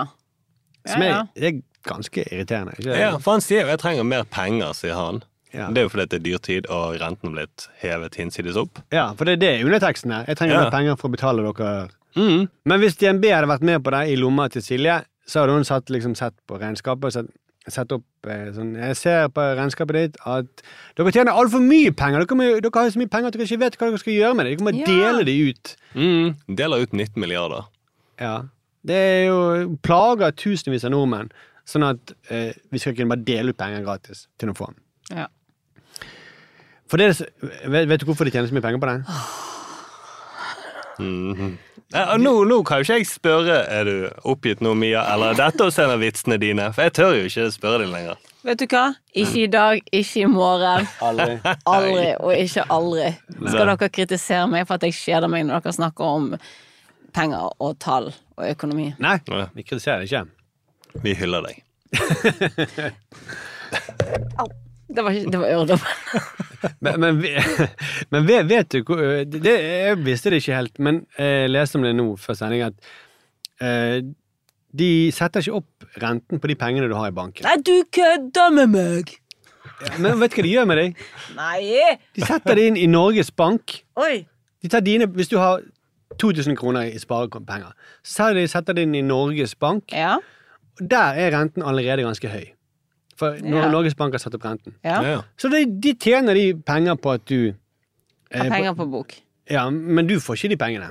C: Ja,
A: Som er,
C: ja.
A: det er ganske irriterende. Ikke? det?
B: ja. For han sier jo 'jeg trenger mer penger', sier han.
A: Ja.
B: Det er jo fordi det er dyrtid, og renten er blitt hevet hinsides opp.
A: ja, for det er det underteksten her. Jeg trenger
B: Ja.
A: mer penger for å betale dere.
B: Mm.
A: Men hvis DNB hadde vært med på det i lomma til Silje, så hadde hun satt, liksom, sett på regnskapet og sett, sett opp eh, sånn Jeg ser på regnskapet ditt at dere tjener altfor mye penger. Dere, må, jo- dere har jo så mye penger at dere ikke vet hva dere skal gjøre med det. Dere må
C: Ja.
A: dele det ut.
B: Mm. Deler ut 19 milliarder.
A: Ja. Det er jo plager tusenvis av nordmenn, sånn at eh, vi skal kunne bare dele ut penger gratis til noen få.
C: Ja.
A: For det er, så- vet, vet du hvorfor de tjener så mye penger på det?
B: Mhm. Ja, og nå, nå kan jo ikke jeg spørre Er du oppgitt nå, Mia, eller er dette også en av vitsene dine? For jeg tør jo ikke spørre deg lenger.
C: Vet du hva? Ikke i dag, ikke i morgen.
A: Aldri.
C: Aldri og ikke aldri. Skal dere kritisere meg for at jeg kjeder meg når dere snakker om penger og tall og økonomi?
A: Nei, vi kritiserer ikke.
B: Vi hyller deg.
C: Det var, ikke- det var øredobben.
A: Men, men, ve- men ve- vet du hvor eh, det, det- Jeg visste det ikke helt, men jeg leste om det nå før sending, at eh, de setter ikke opp renten på de pengene du har i banken.
C: Nei, du kødder med meg!
A: Men vet du hva de gjør med deg?
C: Nei!
A: De setter det inn i Norges Bank.
C: Oi!
A: De tar dine, Hvis du har 2000 kroner i sparepenger, så setter de- setter de inn i Norges Bank.
C: Ja,
A: og Der er renten allerede ganske høy. For Nor-
C: Ja.
A: Norges Bank har satt opp renten.
C: ja.
A: Så de, de tjener de penger på at du
C: Har
A: eh,
C: penger på bok.
A: Ja, Men du får ikke de pengene.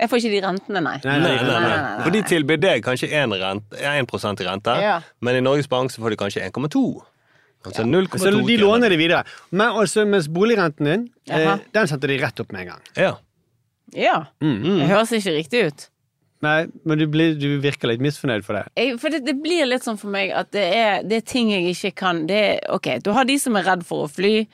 C: Jeg får ikke de rentene, nei.
A: Nei, nei,
B: Nei, nei,
A: nei,
B: nei.
C: nei, nei, nei.
B: eh, For de tilbyr deg kanskje 1, rent, 1 i rente,
C: Ja.
B: men i Norges Bank så får de kanskje 1,2. Altså 0,2
A: Så de
B: kroner.
A: låner det videre. Men også, mens boligrenten din, eh,
C: Jaha.
A: den setter de rett opp med en gang.
B: Ja.
C: Ja. Det høres ikke riktig ut.
A: Nei, Men du, blir, du virker litt misfornøyd for det.
C: Jeg, for det, det blir litt sånn for meg at det er, det er ting jeg ikke kan det er, Ok, du har de som er redd for å fly,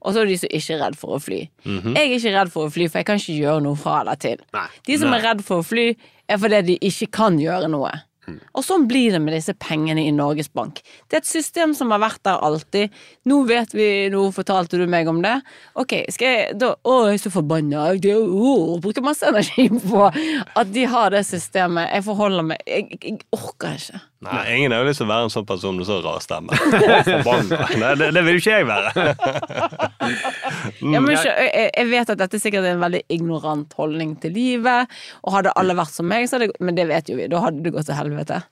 C: og så er de som ikke er redd for å fly. Jeg er ikke redd for å fly, for jeg kan ikke gjøre noe fra eller til.
A: Mhm. Nei.
C: De som er redd for å fly, er fordi de ikke kan gjøre noe.
A: Mhm.
C: Og sånn blir det med disse pengene i Norges Bank. Det er et system som har vært der alltid. Nå vet vi, nå fortalte du meg om det. Ok, skal jeg da Å, jeg er så forbanna. Jeg det- å, bruker masse energi på at de har det systemet. Jeg forholder meg Jeg, jeg orker ikke.
B: Nei, ingen har jo lyst til å være en sånn person med så rar stemme. Å, forbanna. Nei, det, det vil jo ikke jeg være.
C: Jeg, må ikke, jeg, jeg vet at dette sikkert er en veldig ignorant holdning til livet, og hadde alle vært som meg, så hadde det- Men det vet jo vi, da hadde det gått til helvete.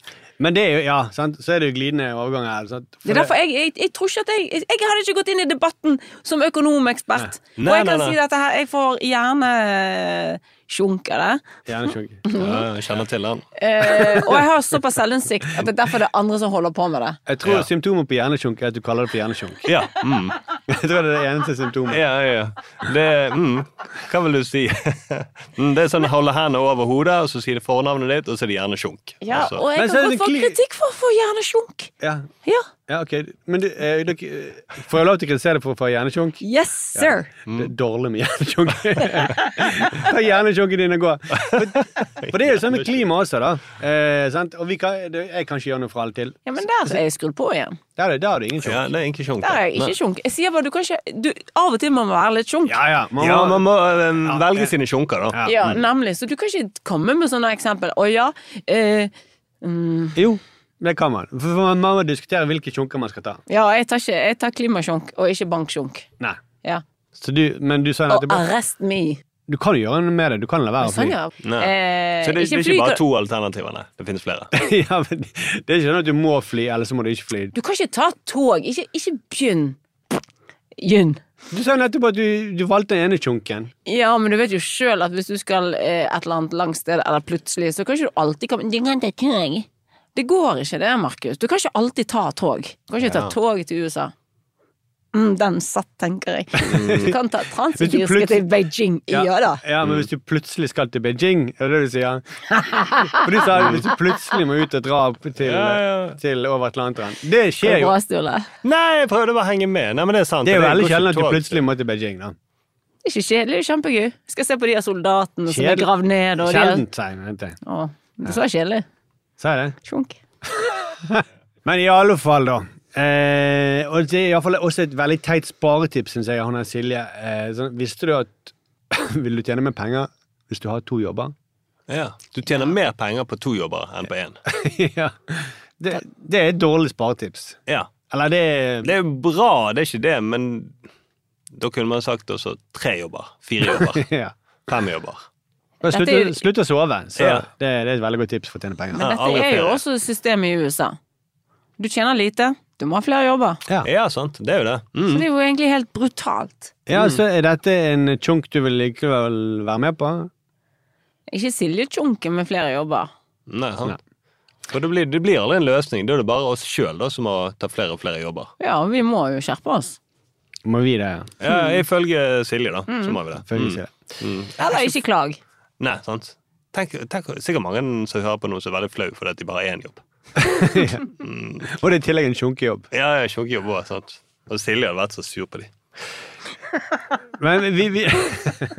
A: Men det er jo, ja, sant? så er det jo glidende overgang her. Sant? For
C: Det er derfor jeg, jeg, jeg tror ikke at jeg, jeg Jeg hadde ikke gått inn i debatten som økonomekspert.
B: Nei.
C: og
B: Nei,
C: jeg kan
B: nei, nei.
C: si dette her Jeg får gjerne eh, sjunk av det.
A: Hjernesjuk.
B: Ja, jeg kjenner til han.
C: Eh, og jeg har såpass selvinnsikt at det er derfor det er andre som holder på med det.
A: Jeg tror
B: Ja.
A: symptomet på hjernesjunk er at du kaller det for hjernesjunk.
B: Ja, mm.
A: Jeg tror det er det eneste symptomet.
B: ja, ja. ja. Det, mm. Hva vil du si? Mm, Det er sånn holde hendene over hodet, og så si det fornavnet ditt, og så er det gjerne sjunk.
C: Ja,
B: Altså.
C: og jeg
A: Men så er
C: kan
A: det
C: godt få
A: kli-
C: kritikk for å få hjernesjunk.
A: Ja,
C: Ja.
A: ja ok. Men du, eh, dere, eh, får jeg lov til å kritisere deg for å få hjernesjunk?
C: Yes, sir.
B: Mm.
A: Det er dårlig med hjernesjunk. Ta hjernesjunken din og gå. For, for det er jo sånn med klima også, da. Eh, sant? Og vi kan, det, jeg kan ikke gjøre noe fra eller til.
C: Ja, men der er jeg skrudd på igjen.
A: Der er det- der har du ingen sjunk.
B: Ja, det er egentlig sjunk.
C: Der er
B: da.
C: jeg ikke sjunk. Jeg sier bare du kan ikke du, Av og til må man være litt sjunk.
A: Ja, ja. Man,
B: Ja, man
A: må,
B: må eh, velge sine sjunker, da.
A: Ja.
C: Ja, nemlig. Så du kan ikke komme med sånne eksempel. Å ja. Eh,
A: jo, det kan man. For for man må diskutere hvilke sjunker man skal ta.
C: ja, jeg tar, ikke, jeg tar klimasjunk og ikke banksjunk.
A: Nei.
C: Ja.
A: Så du, men du sa jo
C: Og
A: nettopp
C: arrest me.
A: Du kan jo gjøre noe med det. Du kan la være å fly.
C: Sånn, ja.
B: Nei.
C: Eh,
B: Så det, det er
C: fly-
B: ikke bare to alternativer, nei. Det finnes flere.
A: ja, men det er ikke sånn at du må fly, eller så må du ikke fly.
C: Du kan ikke ta tog. Ikke, ikke begynn. Begynn.
A: Du sa jo nettopp at du, du valgte den ene tjunken.
C: Ja, men du vet jo sjøl at hvis du skal eh, et eller annet langt sted, eller plutselig, så kan ikke du alltid komme Du kan ta tog. Det går ikke, det, Markus. Du kan ikke alltid ta tog. Du kan ikke ta tog til USA. Mm, den satt, tenker jeg. Du kan ta
A: Hvis du
C: transsibirske
A: plutselig-
C: til Beijing. Ja, da.
A: Ja, men hvis du plutselig skal til Beijing, er det det du sier? For du sa jo hvis du plutselig må ut og dra opp til,
B: Ja, ja.
A: til over Atlanteren. Det
C: Det
A: skjer
C: er
A: jo.
C: bra, Sturle.
B: Nei, jeg prøvde bare å henge med. Nei, men det er sant.
A: Det er jo
B: går
A: veldig
B: ikke
A: sjelden at du
B: tog.
A: plutselig må til Beijing, da.
C: Det er ikke kjedelig, det er kjempegøy. Skal se på de her soldatene som er
A: Kjedelig.
C: gravd ned, og de her
A: Sjeldent, sier jeg. vet du.
C: Å, det var kjedelig.
A: Sa jeg det?
C: Sjunk.
A: Men i alle fall, da. Eh, og det er iallfall også et veldig teit sparetips, syns jeg, han og Silje. Eh, sånn, visste du at Vil du tjene mer penger hvis du har to jobber?
B: Ja. Du tjener mer penger på to jobber enn på én.
A: ja. Det, det er et dårlig sparetips.
B: Ja.
A: Eller det er
B: Det er jo bra, det er ikke det, men da kunne man sagt også tre jobber. Fire jobber.
A: ja.
B: Fem jobber.
A: Bare
C: Dette
A: slutt,
C: er jo-
A: å- slutt å sove. Så
B: Ja.
A: det, det er et veldig godt tips for å tjene penger.
B: Ja,
C: Men dette
B: aldri
C: er jo
B: ferie.
C: også systemet i USA. Du tjener lite, du må ha flere jobber.
B: Ja, sant. Det er jo det.
C: Så
B: Mm.
C: det er jo egentlig helt brutalt.
A: Ja, så Er dette en chunk du vil likevel være med på?
C: Ikke Silje Tjunke med flere jobber.
B: Nei, sant. For det blir, det blir aldri en løsning. Da er det bare oss sjøl som må ta flere og flere jobber.
C: Ja, vi må jo skjerpe oss.
A: Må vi det?
B: Ja, Ifølge Silje, da, så må vi det.
C: Mm.
A: Følger ikke det.
C: Eller ikke klag.
B: Nei, sant? Tenk, tenk, sikkert mange som hører på noe som er veldig flau fordi at de bare har én jobb.
A: Og det er i tillegg en sjunkejobb.
B: Ja, jeg har ikke jobb også, sant? Og Silje hadde vært så sur på dem.
A: Men vi, vi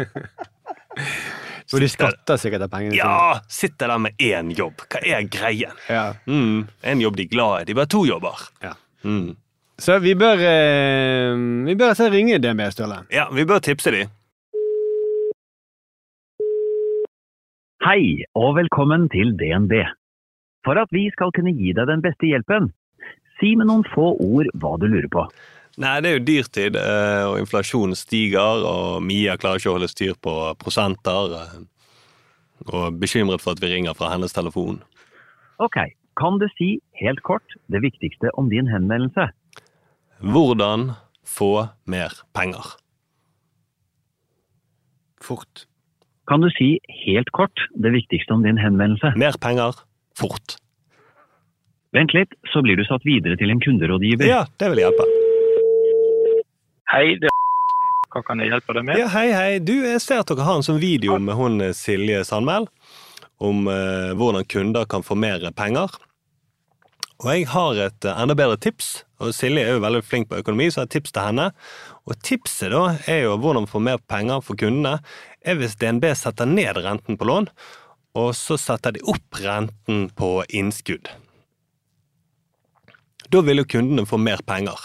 A: Og de skatter sikkert av pengene
B: Ja! Sitter der med én jobb. Hva er greien?
A: sine. Ja.
B: Mm, en jobb de er glad i. De bare har to jobber.
A: Ja.
B: Mm.
A: Så vi bør eh, Vi bør altså ringe DNB, Ståle.
B: Ja, vi bør tipse dem.
H: Hei, og velkommen til DNB. For at vi skal kunne gi deg den beste hjelpen, si med noen få ord hva du lurer på.
B: Nei, det er jo dyrtid, eh, og inflasjonen stiger, og Mia klarer ikke å holde styr på prosenter. eh, Og er bekymret for at vi ringer fra hennes telefon.
H: Ok, kan du si helt kort det viktigste om din henvendelse?
B: Hvordan få mer penger?
A: Fort.
H: Kan du si helt kort det viktigste om din henvendelse?
B: Mer penger, fort.
H: Vent litt, så blir du satt videre til en kunderådgiver.
B: Ja, det vil hjelpe.
I: Hei, det er Hva kan jeg hjelpe deg med?
B: Ja, hei, hei. Du, jeg ser at dere har en sånn video med hun eh, Silje Sandmæl om eh, hvordan kunder kan få mer penger. Og jeg har et eh, enda bedre tips, og Silje er jo veldig flink på økonomi, så jeg har et tips til henne. Og tipset da er jo hvordan få mer penger for kundene, er hvis DNB setter ned renten på lån, og så setter de opp renten på innskudd. Da vil jo kundene få mer penger.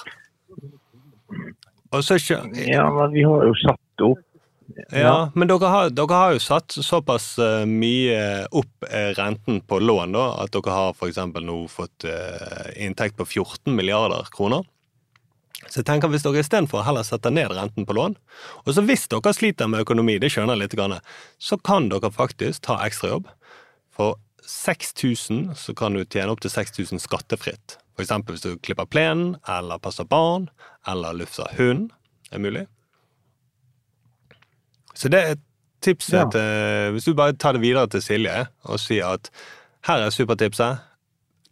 B: Og så skjø-
I: Ja, men vi har jo satt opp
B: ja, men dere har, dere har jo satt såpass eh, mye opp eh, renten på lån da, at dere har for eksempel nå fått eh, inntekt på 14 milliarder kroner. Så jeg tenker hvis dere istedenfor heller setter ned renten på lån, og så hvis dere sliter med økonomi, det skjønner jeg litt, grann, så kan dere faktisk ta ekstrajobb. For 6000 så kan du tjene opp til 6000 skattefritt. For eksempel hvis du klipper plenen, eller passer barn, eller lufter hund. er mulig. Så det er tipset
I: Ja.
B: til Hvis du bare tar det videre til Silje og sier at her er supertipset.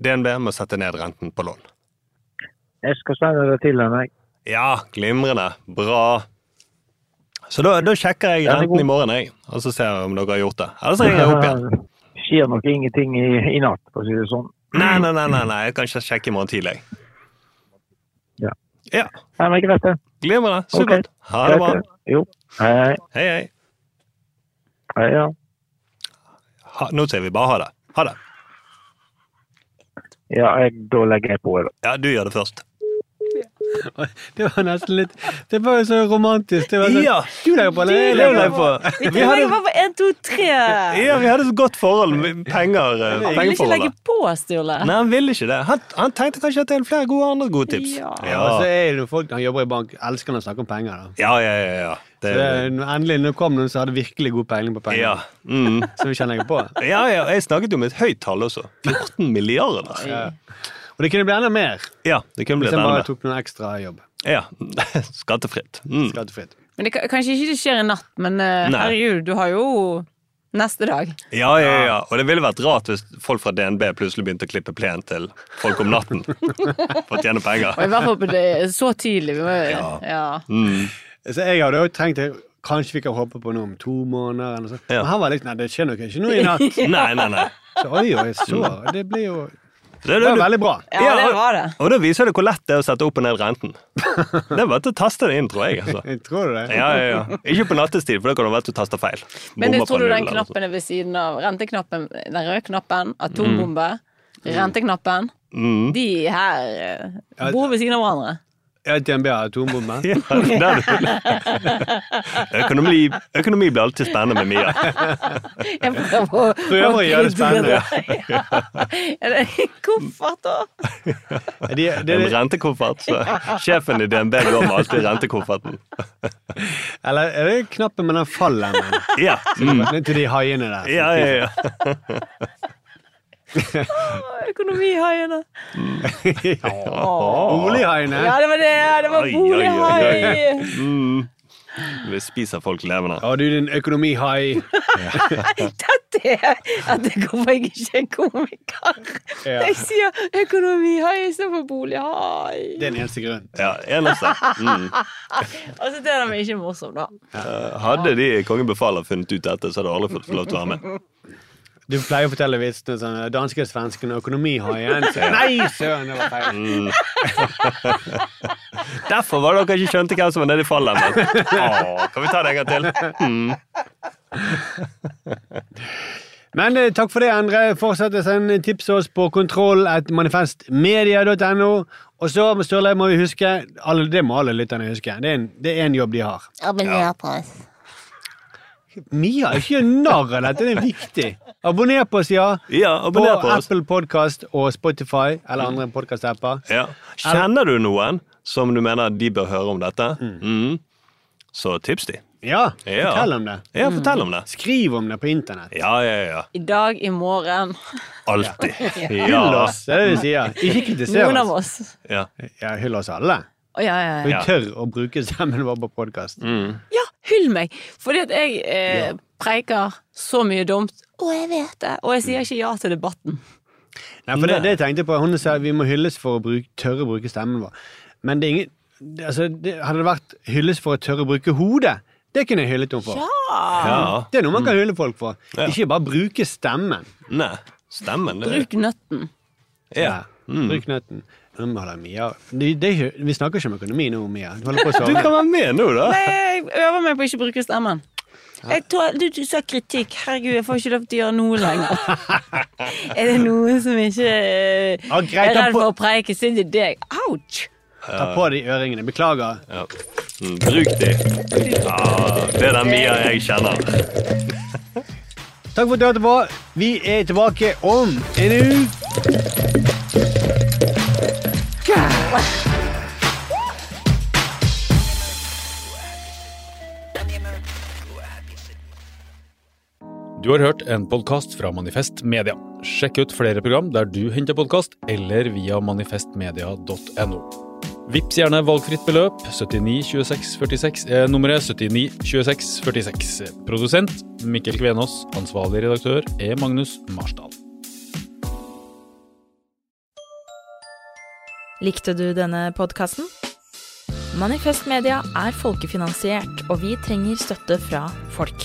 B: DNB må sette ned renten på lån.
I: Jeg skal sende det til henne. jeg.
B: Ja, glimrende. Bra. Så da, da sjekker jeg
I: Ja, det er
B: renten i
I: god.
B: morgen, jeg. Og så ser jeg om dere har gjort det. Ellers ringer jeg opp igjen.
I: Skjer nok ingenting i, i natt, for å si det sånn.
B: Nei, nei, nei, nei, nei. jeg kan ikke sjekke i morgen tidlig.
I: Ja.
B: Ja.
I: Nei, men greit, det.
B: Glimrende.
I: Ok.
B: Supert. Ha det bra.
I: Greit, Jo. Hei, hei.
B: Hei, hei.
I: Hei, ja.
B: Ha, nå sier vi bare ha det. Ha det.
I: Ja, jeg, da legger jeg på. da.
B: Ja, du gjør det først.
A: Det var nesten litt Det var jo så romantisk. Det var sånn,
B: Ja.
A: Du legger på, eller jeg
B: Du legger
A: legger på.
C: Vi
B: Vi hadde-
C: trenger bare på én, to, tre.
B: Ja, vi hadde så godt forhold med penger. eh,
C: Han vil ikke
B: pengeforholdet.
C: legge på, Sturle.
B: Nei, han ville ikke det. Han, han tenkte kanskje at det er flere gode andre gode tips.
C: Ja.
A: Ja. Og så er det jo folk som jobber i bank, elsker når de snakker om penger. da.
B: ja, ja, ja. ja.
A: Så
B: Det,
A: det, er- endelig, nå kom noen som hadde virkelig god peiling på penger.
B: ja. Mm.
A: Som vi kjenner jeg på.
B: ja, ja. Jeg snakket jo med et høyt tall også. 14 milliarder.
A: Ja. Og det kunne bli enda mer
B: Ja, det kunne
A: hvis
B: blitt
A: jeg
B: enda
A: bare
B: mer.
A: tok noen ekstra jobb.
B: Ja. Skattefritt. Mm.
A: Skattefritt.
C: Men det, kan- kanskje ikke det skjer i natt, men eh,
B: Nei.
C: herregud, du har jo neste dag.
B: Ja, ja, ja. Og det ville vært rart hvis folk fra DNB plutselig begynte å klippe plenen til folk om natten for å tjene
C: Og i
B: penger.
C: hvert fall på det, så tidlig. Vi må, ja.
B: Mm.
A: Så jeg hadde også tenkt at kanskje vi kan håpe på noe om to måneder. Eller noe sånt.
B: Ja.
A: Men han var litt Nei, det skjer nok ikke noe i natt.
B: Nei, nei, nei.
A: Så oi, oi, så. Det ble jo
B: Det er
A: det
B: det
A: var
B: du-
A: veldig bra.
C: Ja, det var det.
B: Og da viser det hvor lett det er å sette opp og ned renten. Det er bare til å taste det inn, tror jeg. altså.
A: Jeg tror det.
B: Ja, ja, ja. Ikke på nattestid, for da kan det være at du taster feil. Bommer
C: Men jeg
B: på
C: tror du
B: null
C: den
B: eller noe sånt.
C: knappen er ved siden av renteknappen, den røde knappen, atombombe, renteknappen?
B: Mm.
C: De her eh, bor ved siden av hverandre.
A: Ja, DNB har atombombe.
B: Ja, det er det. økonomi, økonomi blir alltid spennende med Mia.
C: Jeg prøver å,
A: Prøver å gjøre det spennende.
C: Ja. Er det koffert, da?
A: De, det-
B: En
A: det-
B: rentekoffert. Så. Sjefen i DNB går med alltid rentekofferten.
A: eller er det knappen med den fallemmen?
B: Ja. Mm.
A: Ned til de haiene der.
B: Ja, ja, ja.
C: Økonomihaiene.
A: Bolighaiene.
C: Ja, det var det! Det var
B: Oi, oi, oi, oi.
C: bolighai!
B: Mm. Vi spiser folk levende.
A: Å, du din økonomihai.
C: Dette det at jeg kommer jeg ikke er komiker.
A: Ja.
C: Jeg sier økonomi har jeg istedenfor bolig har jeg.
A: Det er den eneste grunnen.
B: Ja, eneste. Mm.
C: altså, det er da vi ikke morsom, da.
B: Eh, Hadde de i Kongen befaler funnet ut dette, så hadde alle fått lov til å være med.
A: Du pleier å fortelle vitsene sånn Danske, svensken og økonomihaien. Så- Nei, søren, det var feil.
B: Mm. Derfor var det dere ikke skjønte hvem som var nede i fallet. Men. Åh, kan vi ta det en gang til? Mm.
A: Men eh, takk for det, Endre. Fortsett å sende tips til oss på kontroll.manifestmedia.no. Og så Sturle, må vi huske alle, Det må alle lytterne huske. Det er en, det er en jobb de har.
J: Abonner på oss.
A: Mia, ikke gjør narr av dette. Det er viktig. Abonner på oss, ja.
B: abonner på oss.
A: Apple Podcast og Spotify eller andre podkast-apper.
B: Ja. Kjenner du noen som du mener de bør høre om dette, mm. så tips de.
A: Ja,
B: Ja.
A: fortell om det.
B: Ja,
C: Mm.
B: fortell om det.
A: Skriv om det på internett.
B: Ja, ja, ja.
C: I dag, i morgen.
B: Alltid.
C: Ja.
A: Hyll oss, det er det vi sier. Ikke kritiser
C: Noen av
A: oss.
C: oss.
B: Ja.
A: hyll oss alle.
C: Å, ja, ja,
A: Vi
C: ja.
A: tør å bruke stemmen vår på podkast.
C: Ja, hyll meg! Fordi at jeg eh,
A: Ja.
C: preiker så mye dumt, og jeg vet det, og jeg sier ikke ja til debatten.
A: Nei, for det, det jeg tenkte på, Hun sa at vi må hylles for å bruke, tørre å bruke stemmen vår. Men det er ingen, det, altså, det, hadde det vært hylles for å tørre å bruke hodet, det kunne jeg hyllet henne for.
B: Ja. Mm.
A: Det er noe man kan hylle folk for. Ikke bare bruke stemmen.
B: Nei, stemmen det.
A: Eh.
C: Bruk nøtten.
B: Ja. Mm.
A: Bruk nøtten. Nå må jeg holde Mia. Det, det, er ikke- vi snakker ikke om økonomi nå, Mia. Du holder på å
B: Du kan
A: sove.
B: være med nå, da.
C: Nei, jeg øver meg på å ikke bruke stemmen. Jeg tror, du, du sa kritikk. Herregud, jeg får ikke lov til å gjøre noe lenger. er det noen som ikke eh,
A: Ja, greit,
C: er
A: ta
C: redd
A: på-
C: for å preike, så er det deg. Ouch!
A: Ta på deg øringene. Beklager.
B: Ja. Mm, Bruk de. Ja, det er den Mia jeg kjenner.
A: Takk for at du hørte på. Vi er tilbake om en uke.
K: Du har hørt en podkast fra Manifest Media. Sjekk ut flere program der du henter podkast, eller via manifestmedia.no. Vips gjerne valgfritt beløp. 79 26 46 er nummeret 79 26 46. Produsent Mikkel Kvenås. Ansvarlig redaktør er Magnus Marsdal.
L: Likte du denne podkasten? Manifest Media er folkefinansiert, og vi trenger støtte fra folk.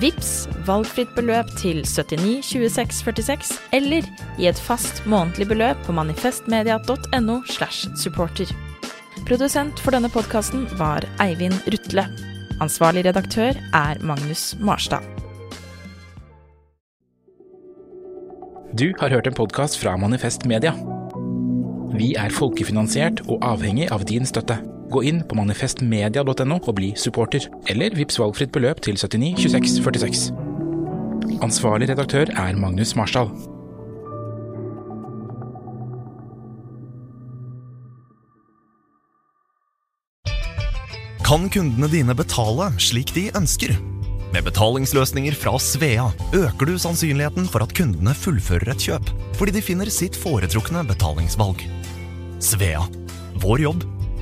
L: Vips valgfritt beløp til 79 26 46, eller i et fast månedlig beløp på manifestmedia.no. slash supporter. Produsent for denne podkasten var Eivind Rutle. Ansvarlig redaktør er Magnus Marstad.
M: Du har hørt en podkast fra Manifest Media. Vi er folkefinansiert og avhengig av din støtte. Gå inn på manifestmedia.no og bli supporter, eller vips valgfritt beløp til 79 26 46. Ansvarlig redaktør er Magnus Marsdal.
N: Kan kundene dine betale slik de ønsker? Med betalingsløsninger fra Svea øker du sannsynligheten for at kundene fullfører et kjøp, fordi de finner sitt foretrukne betalingsvalg. Svea vår jobb,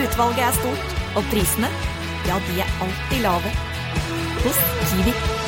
O: Utvalget er stort, og prisene, ja, de er alltid lave. Hos Kiwi.